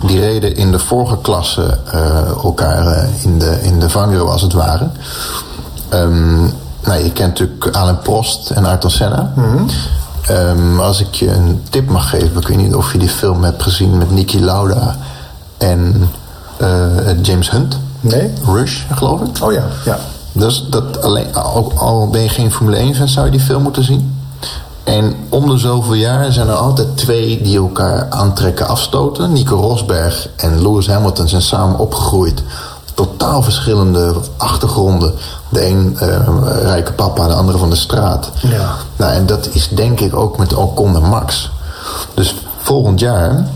Die reden in de vorige klasse eh, elkaar eh, in, de, in de vangrail als het ware. Ehm, nou, je kent natuurlijk Alain Prost en Ayrton Senna.
Mhm.
Ehm, als ik je een tip mag geven, ik weet niet of je die film hebt gezien met Niki Lauda en eh, James Hunt.
Nee?
Rush, geloof ik.
Oh ja, ja.
Dus dat alleen, al, al ben je geen Formule 1 fan, zou je die film moeten zien. En om de zoveel jaar zijn er altijd twee die elkaar aantrekken, afstoten. Nico Rosberg en Lewis Hamilton zijn samen opgegroeid. Totaal verschillende achtergronden. De een eh, rijke papa, de andere van de straat.
Ja.
Nou, en dat is denk ik ook met Alcon en Max. Dus volgend jaar,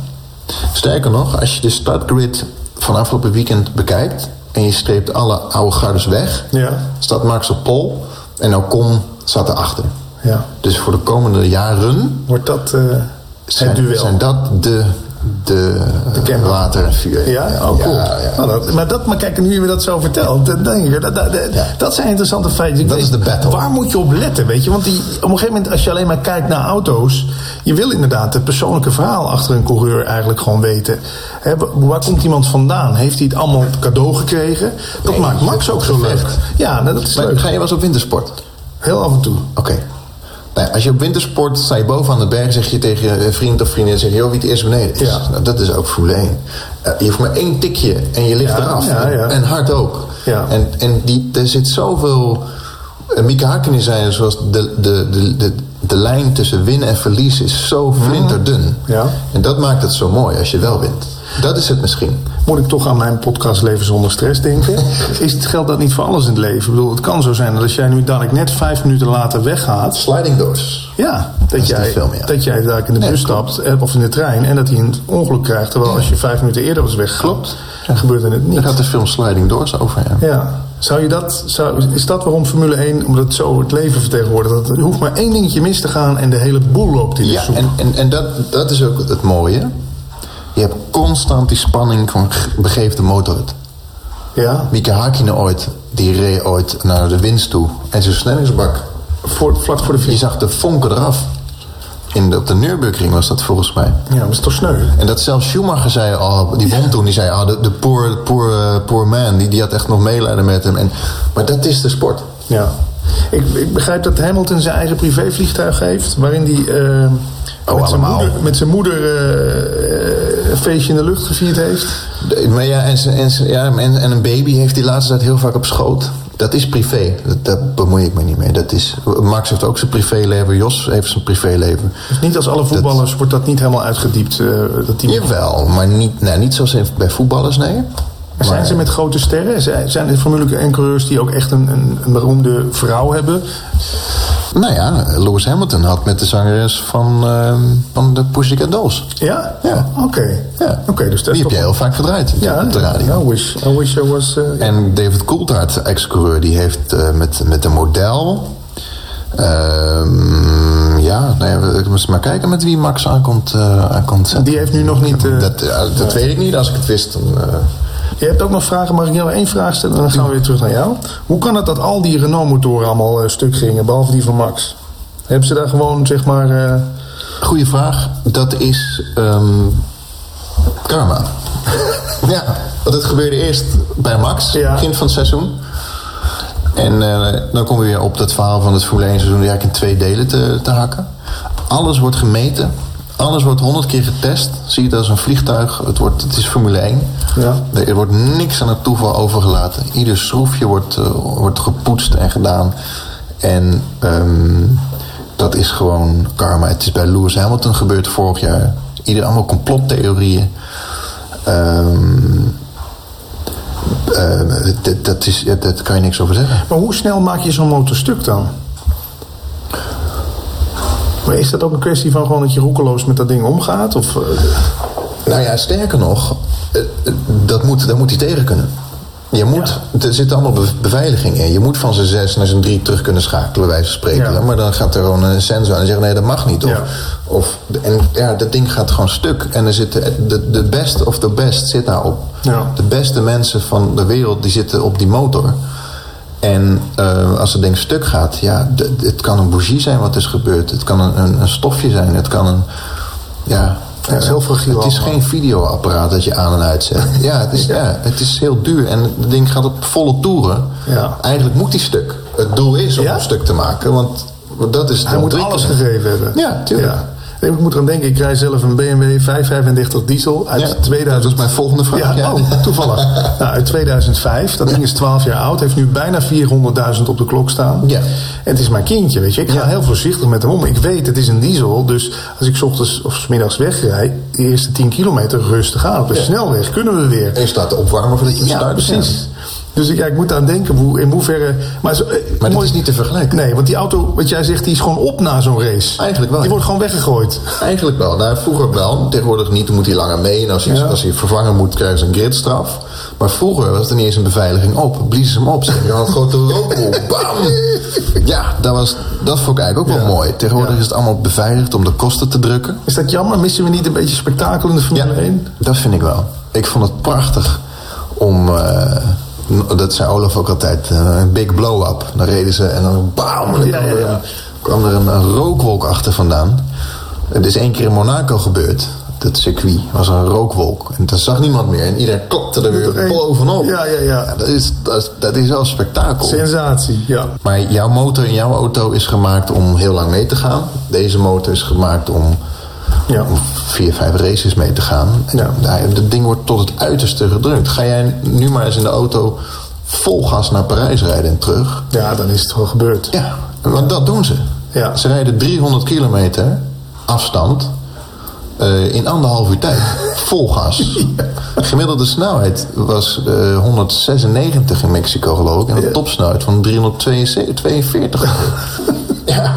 sterker nog, als je de startgrid van afgelopen weekend bekijkt en je streept alle oude gardes weg,
Ja.
staat Max op pol en Alcon staat erachter.
ja.
Dus voor de komende jaren
Wordt dat eh, het
zijn,
duel?
zijn dat de, de, eh,
kenmerken.
water en vuur.
Ja, oh cool.
Ja, ja.
Nou, dat- maar, dat, maar kijk, nu je me dat zo vertelt, dan denk ik, dat, dat, dat,
Ja.
dat zijn interessante feiten. Ik
Dat is de battle.
Waar moet je op letten, weet je? Want die, op een gegeven moment, als je alleen maar kijkt naar auto's, je wil inderdaad het persoonlijke verhaal achter een coureur eigenlijk gewoon weten. Hè, wa- waar komt iemand vandaan? Heeft hij het allemaal cadeau gekregen? Dat
Nee,
maakt Max ook zo leuk.
gevecht.
Ja, nou, dat is
Maar
leuk.
Ga je wel eens op wintersport?
Heel af en toe.
Oké. Nou, als je op wintersport sta je boven aan de berg, zeg je tegen een vriend of vriendin, zeg je, joh, wie het eerst beneden is.
Ja.
Nou, dat is ook Formule 1. Eh, je hoeft maar één tikje en je ligt
Ja,
eraf.
ja, ja.
En hard ook.
Ja.
En, en die, er zit zoveel... eh, Mieke Hakkinen zei, zoals de, de, de, de, de lijn tussen winnen en verliezen is zo flinterdun.
Ja.
En dat maakt het zo mooi als je wel wint. Dat is het misschien.
moet ik toch aan mijn podcast Leven zonder stress denken. Is, geldt dat niet voor alles in het leven? Ik bedoel, het kan zo zijn dat als jij nu dadelijk net vijf minuten later weggaat...
Sliding doors.
Ja,
is
dat
die
jij,
film, ja.
dat jij dadelijk in de
Nee,
bus
klopt.
stapt eh, of in de trein en dat hij een ongeluk krijgt. Terwijl als je vijf minuten eerder was weggegaan,
Klopt.
gebeurde het
Daar
niet.
gaat de film Sliding Doors over. Ja.
Ja. Zou je dat, zou, is dat waarom Formule 1, omdat het zo het leven vertegenwoordigt? Dat er hoeft maar één dingetje mis te gaan en de hele boel loopt in de
Ja,
soep.
en, en, en dat, dat is ook het mooie. Je hebt constant die spanning van g- begeef de motor het.
ja?
Mieke Hakkinen ooit, die reed ooit naar de winst toe. En zijn versnellingsbak.
Voor, vlak voor de
Je
finish.
zag de vonken eraf. In de, op de Nürburgring was dat volgens mij.
Ja, maar dat is toch sneu?
En dat zelfs Schumacher zei al, die won toen, die zei, ah, de, de poor, poor, eh, poor man, die, die had echt nog meelijden met hem. En, maar dat is de sport.
Ja. Ik, ik begrijp dat Hamilton zijn eigen privévliegtuig heeft. Waarin hij eh, met, zijn
Oh, allemaal.
moeder, met zijn moeder eh, eh, een feestje in de lucht gevierd heeft.
De- Maar ja, en, ze- en, ze- ja, en, en een baby heeft die laatste tijd heel vaak op schoot. Dat is privé. Dat, daar bemoei ik me niet mee. Dat is, Max heeft ook zijn privéleven. Jos heeft zijn privéleven.
Dus niet als alle voetballers wordt dat niet helemaal uitgediept. eh, dat die
Jawel, maar niet, nou, niet zoals in- bij voetballers, nee.
Maar zijn
Maar-
ze met grote sterren? Zijn- Zijn er Formule 1 coureurs die ook echt een, een, een beroemde vrouw hebben?
Nou ja, Lewis Hamilton had met de zangeres van, ehm, van de Pussycat Dolls.
Ja?
Ja.
Oké.
Ja.
Oké, dus
die
dat is
heb
toch-
je heel vaak gedraaid
Ja,
op de radio.
I wish, I wish I was... eh,
En David Coulthard, ex-coureur, die heeft eh, met, met een model... ehm, ja, nou ja, we we moeten maar kijken met wie Max aankomt, eh aankomt zetten.
Die heeft nu nog niet, eh,
dat ja, dat weet ik niet, als ik het wist. Dan, eh,
Je hebt ook nog vragen, mag ik jou één vraag stellen? En dan gaan we weer terug naar jou. Hoe kan het dat al die Renault-motoren allemaal eh, stuk gingen, behalve die van Max? Hebben ze daar gewoon, zeg maar... eh,
goeie vraag. Dat is ehm, karma. ja, want het gebeurde eerst bij Max,
Ja.
begin van het seizoen. En eh, dan kom je weer op dat verhaal van het Formule 1 seizoen eigenlijk in twee delen te, te hakken. Alles wordt gemeten. Alles wordt honderd keer getest. Zie je het als een vliegtuig. Het, wordt, het is Formule 1.
Ja.
Er wordt niks aan het toeval overgelaten. Ieder schroefje wordt, eh, wordt gepoetst en gedaan. En ehm, dat is gewoon karma. Het is bij Lewis Hamilton gebeurd vorig jaar. Ieder allemaal complottheorieën. Ehm, eh, dat- dat is, dat- dat kan je niks over zeggen.
maar hoe snel maak je zo'n motor stuk dan? Maar is dat ook een kwestie van gewoon dat je roekeloos met dat ding omgaat? Of, eh,
Nou ja, sterker nog, eh, eh, dat moet, dat moet hij tegen kunnen. Je moet, Er zit allemaal be- beveiliging in. Je moet van zijn zes naar zijn drie terug kunnen schakelen, bij wijze van spreken.
Ja.
Maar dan gaat er gewoon een sensor aan en zegt: nee, dat mag niet. Of,
Ja.
of, en ja, dat ding gaat gewoon stuk. En er zit, de, de best of the best zit daarop.
Ja.
De beste mensen van de wereld die zitten op die motor. En eh, als het ding stuk gaat, ja, d- d- het kan een bougie zijn wat is gebeurd. Het kan een, een, een stofje zijn. Het kan een. Ja,
het is heel
eh,
fragiel
Het is
allemaal.
geen videoapparaat dat je aan en uitzet. Ja, het is, ja, het is heel duur. En het ding gaat op volle toeren.
Ja.
Eigenlijk moet die stuk. Het doel is om
Ja?
hem stuk te maken. Want dat is de
Hij moet alles
ontwikkeling.
gegeven hebben.
Ja, tuurlijk.
Nee, ik moet eraan denken, ik rij zelf een BMW 535 diesel uit
Ja,
2000.
dat is mijn volgende vraag,
Ja,
ja.
Oh, toevallig. nou, uit 2005. Dat ding is 12 jaar oud. Heeft nu bijna 400.000 op de klok staan.
Ja.
En het is mijn kindje, weet je. Ik ga heel voorzichtig met hem om. Ik weet, het is een diesel. Dus als ik 's ochtends of 's middags wegrij, de eerste 10 kilometer rustig aan. Op de snelweg kunnen we weer.
En je staat te opwarmen voordat je hem start.
precies. Dus ik- ja, ik moet aan denken hoe, in hoeverre. Maar, zo, eh,
Maar dat
mooi-
is niet te vergelijken.
Nee, want die auto, wat jij zegt, die is gewoon op na zo'n race.
Eigenlijk wel, ja.
Die wordt gewoon weggegooid.
Eigenlijk wel. Nou, vroeger wel. Tegenwoordig niet. Dan moet hij langer mee. En als hij,
Ja.
als hij vervangen moet, krijgen ze een gridstraf. Maar vroeger was er niet eens een beveiliging op. Bliezen ze hem op. Ze hadden een grote rookwolk. Bam! Ja, dat, was, dat vond ik eigenlijk ook
Ja.
wel mooi. Tegenwoordig
Ja.
is het allemaal beveiligd om de kosten te drukken.
Is dat jammer? Missen we niet een beetje spektakel in de Formule 1?
dat vind ik wel. Ik vond het prachtig om... eh, n- dat zei Olaf ook altijd. eh, Een big blow-up. Dan reden ze en dan bam! En dan
Ja,
kwam,
ja,
Er
ja.
een, kwam er een, een rookwolk achter vandaan. Het is één keer in Monaco gebeurd. Dat circuit was een rookwolk. En dat zag niemand meer. En iedereen klapte er
Moet er
weer
één-
bovenop.
Ja, ja, ja.
dat, is, dat, is- dat is wel spektakel.
Sensatie, ja.
Maar jouw motor in jouw auto is gemaakt om heel lang mee te gaan. Deze motor is gemaakt om,
Ja.
om vier, vijf races mee te gaan. En
Ja.
daar- dat ding wordt tot het uiterste gedrukt. Ga jij nu maar eens in de auto vol gas naar Parijs rijden en terug?
Ja, dan is het wel gebeurd.
Ja, want dat doen ze.
Ja.
Ze rijden 300 kilometer afstand eh, in anderhalf uur tijd. Vol gas. Gemiddelde snelheid was eh, 196 in Mexico geloof ik. En de
Ja.
topsnelheid van 342.
Ja.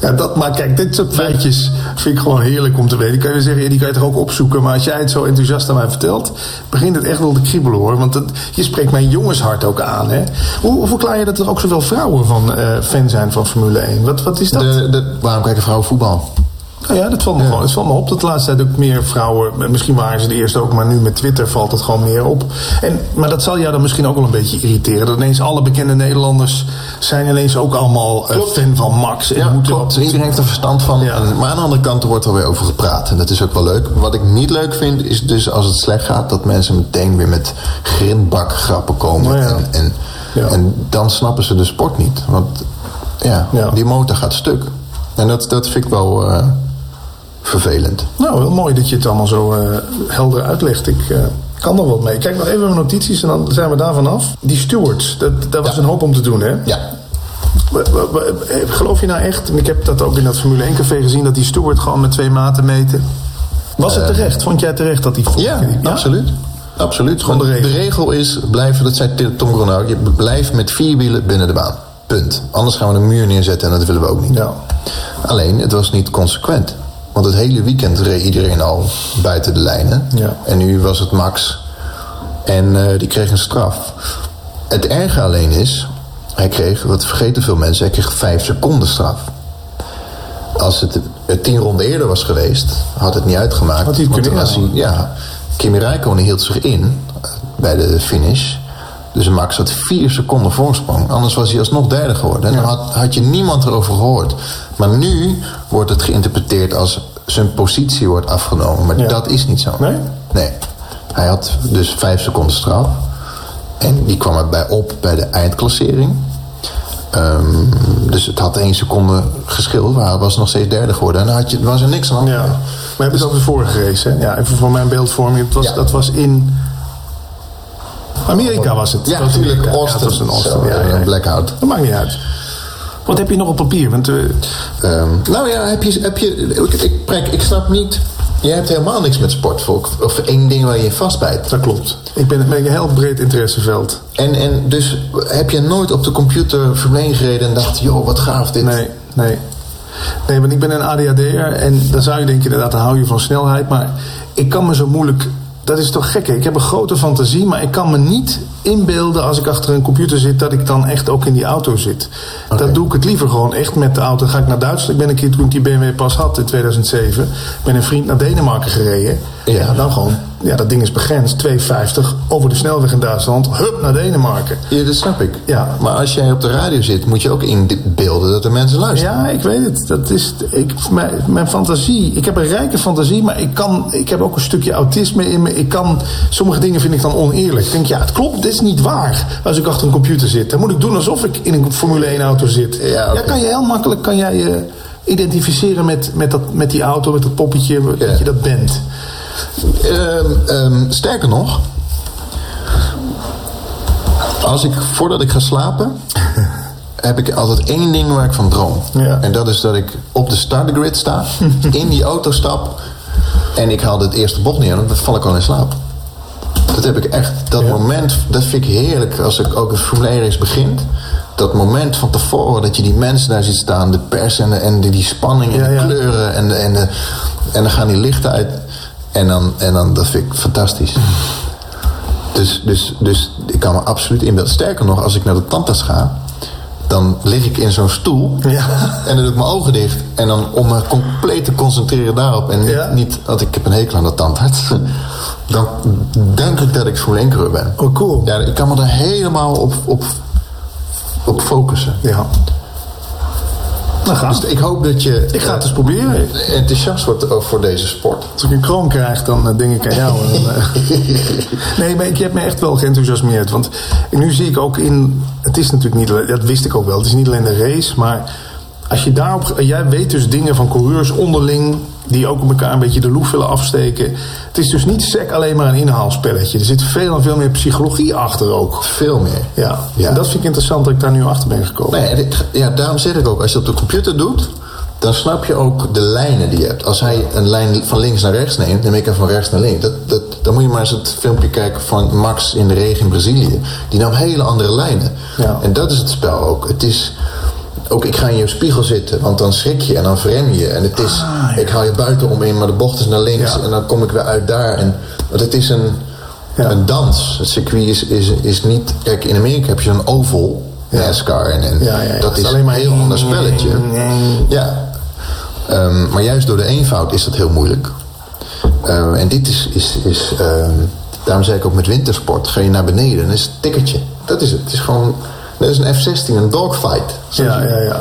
Ja, dat, maar kijk, dit soort feitjes vind ik gewoon heerlijk om te weten. Kan je weer zeggen, ja, die kan je toch ook opzoeken. Maar als jij het zo enthousiast aan mij vertelt, begint het echt wel te kriebelen hoor. Want het- je spreekt mijn jongenshart ook aan. Hè? Hoe, hoe verklaar je dat er ook zoveel vrouwen van eh, fan zijn van Formule 1? Wat, wat is dat?
De, de, waarom kijken vrouwen voetbal?
Nou ja, dat valt me, gewoon, het valt me op dat de laatste tijd ook meer vrouwen... Misschien waren ze de eerste ook, maar nu met Twitter valt het gewoon meer op. En, maar dat zal jou dan misschien ook wel een beetje irriteren. Dat ineens alle bekende Nederlanders zijn ineens ook allemaal eh, fan van Max. En moeten
klopt. Iedereen heeft er verstand van.
Ja.
En- Maar aan de andere kant er wordt er weer over gepraat. En dat is ook wel leuk. Wat ik niet leuk vind, is dus als het slecht gaat... dat mensen meteen weer met grindbakgrappen komen.
Nou ja.
En, en,
Ja.
en dan snappen ze de sport niet. Want ja,
Ja.
die motor gaat stuk. En dat, dat vind ik wel eh, vervelend.
Nou, heel mooi dat je het allemaal zo eh, helder uitlegt. Ik eh, kan er wat mee. Kijk nog even mijn notities en dan zijn we daar vanaf. Die stewards, dat, daar was
Ja.
een hoop om te doen, hè?
Ja,
We- we- we- eh, Geloof je nou echt, en ik heb dat ook in dat Formule 1 café gezien, dat die steward gewoon met twee maten meten? Eh, Was het terecht? Vond jij terecht dat die
Ja, absoluut. Absoluut. Gewoon de,
Gewoon de
regel.
regel.
is, blijf, dat zei Tom Gronau, je blijft met vier wielen binnen de baan. Punt. Anders gaan we een muur neerzetten en dat willen we ook niet.
Ja.
Alleen, het was niet consequent. Want het hele weekend reed iedereen al buiten de lijnen.
Ja.
En nu was het Max. En eh, die kreeg een straf. Het erge alleen is, hij kreeg, wat vergeten veel mensen, hij kreeg vijf seconden straf. Als het, eh, tien ronden eerder was geweest, had het niet uitgemaakt.
Had hij het
Want
kunnen
als hij- Ja, Kimi Räikkönen hield zich in eh, bij de finish. Dus Max had vier seconden voorsprong. Anders was hij alsnog derde geworden. En dan had, had je niemand erover gehoord. Maar nu wordt het geïnterpreteerd als zijn positie wordt afgenomen. Maar
Ja.
dat is niet zo.
Nee?
Nee. Hij had dus vijf seconden straf. En die kwam erbij op bij de eindklassering. Ehm, dus het had één seconde geschil. Maar hij was nog steeds derde geworden. En dan had je, was er niks aan. de
Ja.
hand.
We hebben het over de vorige race, hè? Ja, even voor mijn beeldvorming. Het was,
Ja.
Dat was in... Amerika was het.
Ja,
Dat was
natuurlijk.
Amerika. Ja,
Austin.
het was in Austin.
Zo,
ja,
ja,
ja, ja.
blackout.
Dat maakt niet uit. Wat heb je nog op papier? Want, eh,
Ehm, nou ja, heb je, heb je, ik, ik, Prek, ik snap niet. Jij hebt helemaal niks met sport. Volk, of één ding waar je in vastbijt.
dat klopt. Ik ben met een heel breed interesseveld.
En, en dus heb je nooit op de computer verleen gereden en dacht: joh, wat gaaf dit.
Nee, nee. Nee, want ik ben een ADHD'er en dan zou je denken, inderdaad, dan hou je van snelheid. Maar ik kan me zo moeilijk. Dat is toch gek, hè? Ik heb een grote fantasie, maar ik kan me niet inbeelden als ik achter een computer zit dat ik dan echt ook in die auto zit. Dat doe ik het liever gewoon echt met de auto. Dan ga ik naar Duitsland. Ik ben een keer toen ik die BMW pas had in 2007, met een vriend naar Denemarken gereden. Ja, dan gewoon. Ja, dat ding is begrensd. 2,50 over de snelweg in Duitsland. Hup, naar Denemarken.
Ja, dat snap ik.
Ja.
Maar als jij op de radio zit, moet je ook inbeelden dat er mensen luisteren.
Ja, ik weet het. Dat is, ik, mijn, mijn fantasie. Ik heb een rijke fantasie, maar ik, kan, ik heb ook een stukje autisme in me. Ik kan, sommige dingen vind ik dan oneerlijk. Ik denk, ja, het klopt, dit is niet waar. Als ik achter een computer zit, dan moet ik doen alsof ik in een Formule 1 auto zit.
Ja, oké.
kan je heel makkelijk kan jij je identificeren met, met, dat, met die auto, met dat poppetje, dat je dat bent.
Ehm, ehm, sterker nog, als ik, voordat ik ga slapen, heb ik altijd één ding waar ik van droom.
Ja.
En dat is dat ik op de startergrid sta, in die auto stap en ik haal het eerste bocht neer en dan val ik al in slaap. Dat heb ik echt, dat moment, dat vind ik heerlijk als ik ook een Formule 1 race begint. Dat moment van tevoren dat je die mensen daar ziet staan, de pers en, de- en die, die spanning en
Ja,
de
ja.
kleuren en, de- en, de- en dan gaan die lichten uit. En dan, en dan dat vind ik fantastisch. Dus, dus, dus ik kan me absoluut inbeelden. Sterker nog, als ik naar de tandarts ga, dan lig ik in zo'n stoel.
Ja.
En dan doe ik mijn ogen dicht. En dan om me compleet te concentreren daarop. En niet,
Ja.
niet want ik heb een hekel aan de tandarts. Dan denk ik dat ik Formule 1-coureur ben.
Oh, cool.
Ja, ik kan me daar helemaal op, op, op focussen.
Ja. Nou, gaan.
Dus ik hoop dat je
Ik ga het
eh,
eens proberen.
enthousiast wordt over- voor deze sport.
Als ik een kroon krijg, dan eh, denk ik aan jou. En, eh, nee, maar ik heb me echt wel geenthousiasmeerd. Want nu zie ik ook in... Het is natuurlijk niet... alleen- Dat wist ik ook wel. Het is niet alleen de race, maar... Als je daarop... Jij weet dus dingen van coureurs onderling... die ook elkaar een beetje de loef willen afsteken. Het is dus niet sec alleen maar een inhaalspelletje. Er zit veel en veel meer psychologie achter ook.
Veel meer.
Ja,
Ja.
En dat vind ik interessant dat ik daar nu achter ben gekomen.
Nee, dit- ja, daarom zeg ik ook, als je het op de computer doet, dan snap je ook de lijnen die je hebt. Als hij een lijn van links naar rechts neemt, neem ik er van rechts naar links. Dat, dat, dan moet je maar eens het filmpje kijken van Max in de regen in Brazilië. Die nam hele andere lijnen.
Ja.
En dat is het spel ook. Het is ook, ik ga in je spiegel zitten, want dan schrik je en dan vrem je. En het is,
Ah, ja.
ik haal je buiten om in, maar de bocht is naar links
Ja.
en dan kom ik weer uit daar. En, want het is een,
Ja.
een dans. Het circuit is, is, is niet... Kijk, in Amerika heb je zo'n oval, NASCAR en, en
Ja, ja, ja.
dat
Het is Mm.
is
alleen maar
een heel ander spelletje.
Nee.
Ja. Ehm, maar juist door de eenvoud is dat heel moeilijk. Ehm, en dit is... is, is ehm, daarom zei ik ook met wintersport. Ga je naar beneden, dan is het een tikkertje. Dat is het. Het is gewoon... Dat is een F-16, een dogfight. Snap
Ja,
je?
ja, ja.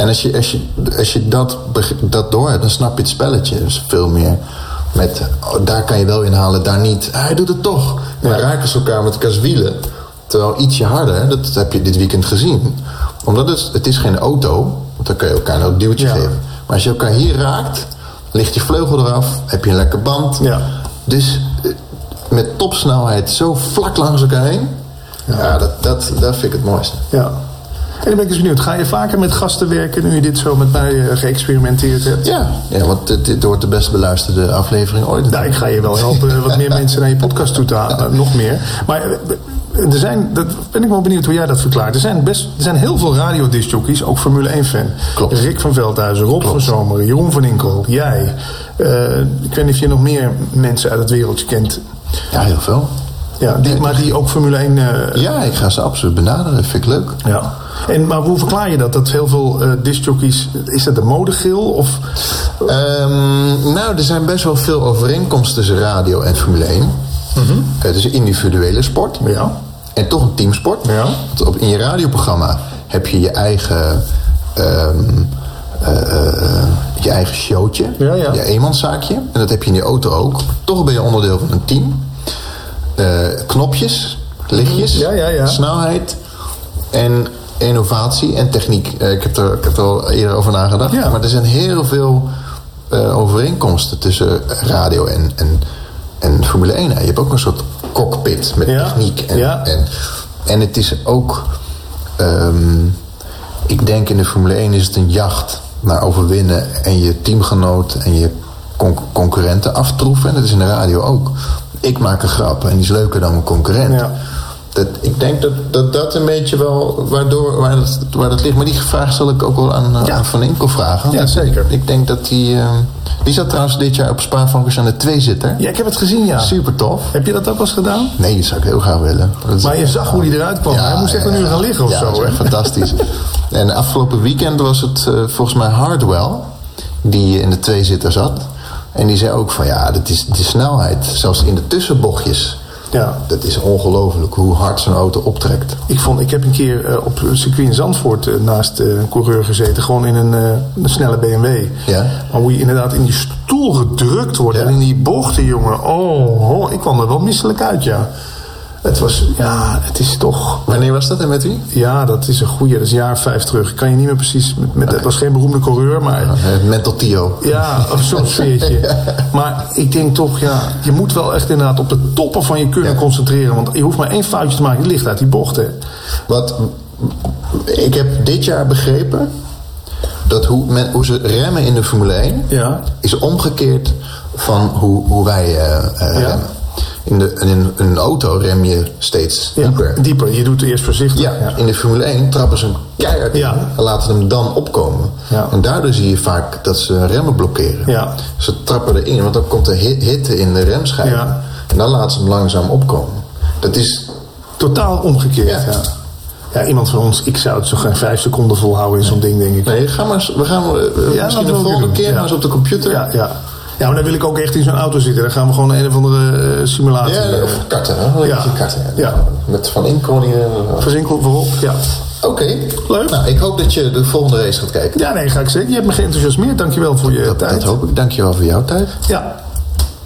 En als je, als je, als je dat, beg- dat door hebt, dan snap je het spelletje. Dus veel meer met, oh, daar kan je wel inhalen, daar niet. Ah, Hij doet het toch. En dan raken ze elkaar met elkaars wielen. Terwijl ietsje harder, hè, dat heb je dit weekend gezien. Omdat het, het is geen auto, want dan kan je elkaar nou een duwtje
Ja.
geven. Maar als je elkaar hier raakt, ligt je vleugel eraf, heb je een lekker band.
Ja.
Dus eh, met topsnelheid zo vlak langs elkaar heen. Ja, dat, dat, dat vind ik het mooiste.
Ja. En dan ben ik eens benieuwd, ga je vaker met gasten werken nu je dit zo met mij eh, geëxperimenteerd hebt?
Ja, ja want dit, dit wordt de best beluisterde aflevering ooit.
Nou, ik ga je wel helpen wat meer mensen naar je podcast toe te halen. eh, Nog meer. Maar eh, er zijn, dat ben ik wel benieuwd hoe jij dat verklaart. Er zijn, best, er zijn heel veel radiodiscjockeys, ook Formule 1-fan.
Klopt.
Rick van Veldhuizen, Rob van Zomeren, Jeroen van Inkel, jij. Eh, ik weet niet of je nog meer mensen uit het wereldje kent.
Ja, heel veel.
Ja, die, maar die ook Formule 1... eh,
Ja, ik ga ze absoluut benaderen. Vind ik leuk.
Ja. En, maar hoe verklaar je dat? Dat heel veel eh discjockeys... Is dat de modegil? Of,
Ehm, nou, er zijn best wel veel overeenkomsten tussen radio en Formule 1. Het is een individuele sport.
Mhm. Ja.
En toch een teamsport.
Ja.
Want op, in je radioprogramma heb je je eigen... ehm, eh, eh, je eigen showtje.
Ja, ja.
Je eenmanszaakje. En dat heb je in je auto ook. Toch ben je onderdeel van een team. Eh, knopjes, lichtjes,
Ja, ja, ja.
snelheid en innovatie en techniek. Eh, ik, heb er, ik heb er al eerder over nagedacht.
Ja.
Maar er zijn heel veel eh, overeenkomsten tussen radio en, en, en Formule 1. Je hebt ook een soort cockpit met
Ja.
techniek. En,
Ja.
en, en het is ook... ehm, ik denk in de Formule 1 is het een jacht naar overwinnen... en je teamgenoot en je con- concurrenten aftroeven. En dat is in de radio ook. Ik maak een grap en die is leuker dan mijn concurrent.
Ja.
Dat, ik denk dat, dat dat een beetje wel waardoor, waar, dat, waar dat ligt. Maar die vraag zal ik ook wel aan, eh,
Ja.
aan Van Inkel vragen.
Ja,
Want
zeker.
Ik denk dat die... eh, die zat trouwens dit jaar op Spaanvankers aan de twee zitter.
Ja, ik heb het gezien, ja.
Super tof.
Heb je dat ook wel eens gedaan?
Nee, dat zou ik heel graag willen. Dat is-
Maar je zag hoe die eruit kwam. Hij moest echt een uur gaan liggen of
ja,
zo,
dat is
hè?
echt fantastisch. En afgelopen weekend was het eh, volgens mij Hardwell... die in de tweezitter zat. En die zei ook van ja, dat is de snelheid. Zelfs in de tussenbochtjes.
Ja.
Dat is ongelooflijk hoe hard zo'n auto optrekt.
Ik, vond, ik heb een keer eh, op een circuit in Zandvoort eh, naast eh, een coureur gezeten. Gewoon in een, eh, een snelle BMW.
Ja.
Maar hoe je inderdaad in die stoel gedrukt wordt.
Ja.
En in die bochten, jongen. Oh, oh, ik kwam er wel misselijk uit, ja. Het was, ja, het is toch...
Wanneer was dat en met wie?
Ja, dat is een goeie. Dat is een jaar vijf terug. Ik kan je niet meer precies... Met, met- Het was geen beroemde coureur, maar...
Eh, Mental Tio.
Ja, of zo'n sfeertje. Maar ik denk toch, ja, je moet wel echt inderdaad op de toppen van je kunnen
Ja.
concentreren. Want je hoeft maar één foutje te maken, je ligt uit die bochten.
Wat ik heb dit jaar begrepen dat hoe, men, hoe ze remmen in de Formule 1
Ja.
is omgekeerd van hoe, hoe wij eh, eh,
Ja.
remmen. In, de, in een auto rem je steeds
Ja,
dieper.
Dieper, je doet het eerst voorzichtig.
Ja, in de Formule 1 trappen ze hem keihard
Ja.
in en laten hem dan opkomen.
Ja.
En daardoor zie je vaak dat ze remmen blokkeren.
Ja.
Ze trappen erin, want dan komt de hit- hitte in de remschijf.
Ja.
En dan laten ze hem langzaam opkomen. Dat is...
Totaal omgekeerd, ja.
Ja.
ja. iemand van ons, ik zou het zo geen vijf seconden volhouden in zo'n ding, denk ik.
Nee, ga maar, eens- we gaan eh,
Ja,
misschien
dat
de
wil ik
volgende
doen.
keer
Ja.
maar eens op de computer.
Ja, ja. ja, maar dan wil ik ook echt in zo'n auto zitten. Dan gaan we gewoon een of andere eh, simulatie.
Ja,
eh,
of karten, hè? Wil je
Ja.
een karten hebben?
Ja.
Met Van Inkoningen. Oké.
Verzinkel voorop, ja. Leuk.
Nou, ik hoop dat je de volgende race gaat kijken.
Ja, nee, ga ik zeker. Je hebt me geenthousiasmeerd. Dankjewel voor je
Dat,
tijd.
dat hoop ik. Dankjewel voor jouw tijd.
Ja.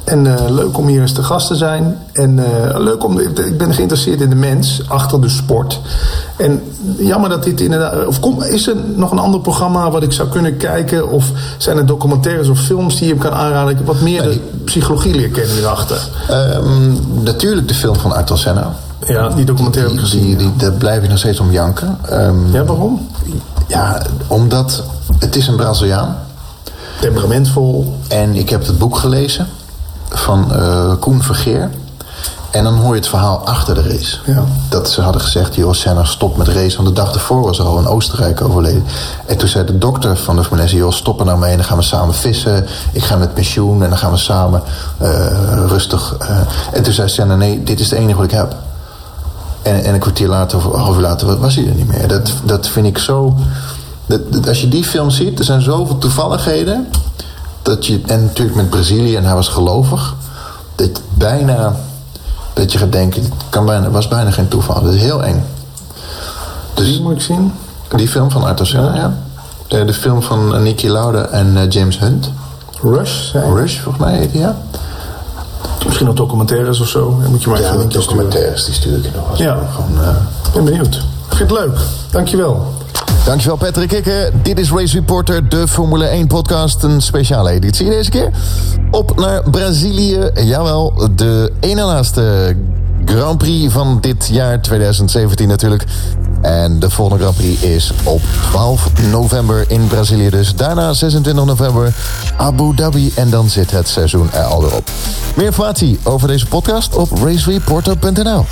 En eh, leuk om hier eens te gast te zijn. En eh, leuk om. Ik ben geïnteresseerd in de mens achter de sport. En jammer dat dit inderdaad. Of kom, is er nog een ander programma wat ik zou kunnen kijken? Of zijn er documentaires of films die je me kan aanraden? Ik heb wat meer de psychologie leer kennen hierachter.
Ehm, natuurlijk de film van Arthur Senna.
Ja, die documentaire heb ik gezien.
Die, die, daar blijf ik nog steeds om janken. Ehm,
Ja, waarom?
ja, omdat het is een Braziliaan.
Temperamentvol.
En ik heb het boek gelezen van eh, Koen Vergeer. En dan hoor je het verhaal achter de race.
Ja.
Dat ze hadden gezegd, joh, Senna, stop met race. Want de dag ervoor was er al een Oostenrijk overleden. En toen zei de dokter van de Formule 1, joh, stop er nou mee. En dan gaan we samen vissen. Ik ga met pensioen. En dan gaan we samen eh, rustig... eh. En toen zei Senna, nee, dit is het enige wat ik heb. En, en een kwartier later of een half uur later was hij er niet meer. Dat, dat vind ik zo... Dat, dat- als je die film ziet, er zijn zoveel toevalligheden... Dat je, en natuurlijk met Brazilië, en hij was gelovig... dat je bijna... dat je gaat denken, het kan bijna, was bijna geen toeval. Dat is heel eng. Dus
Die moet ik zien.
die film van Arthur Senna, ja. De, de film van eh, Niki Lauda en eh, James Hunt.
Rush. zei-
Rush, volgens mij heet die, ja.
Misschien nog documentaires of zo. Dan moet je maar even
Ja, die
een linkje sturen.
documentaires, die stuur ik je nog wel eens.
Ja.
Gewoon, eh,
Ik ben benieuwd. Ik vind het leuk. Dankjewel.
Dankjewel Patrick Kikker. Dit is Race Reporter, de Formule 1 podcast. Een speciale editie deze keer. Op naar Brazilië. Jawel, de ene laatste Grand Prix van dit jaar 2017 natuurlijk. En de volgende Grand Prix is op 12 november in Brazilië. Dus daarna 26 november Abu Dhabi. En dan zit het seizoen er al weer op. Meer informatie over deze podcast op racereporter.nl.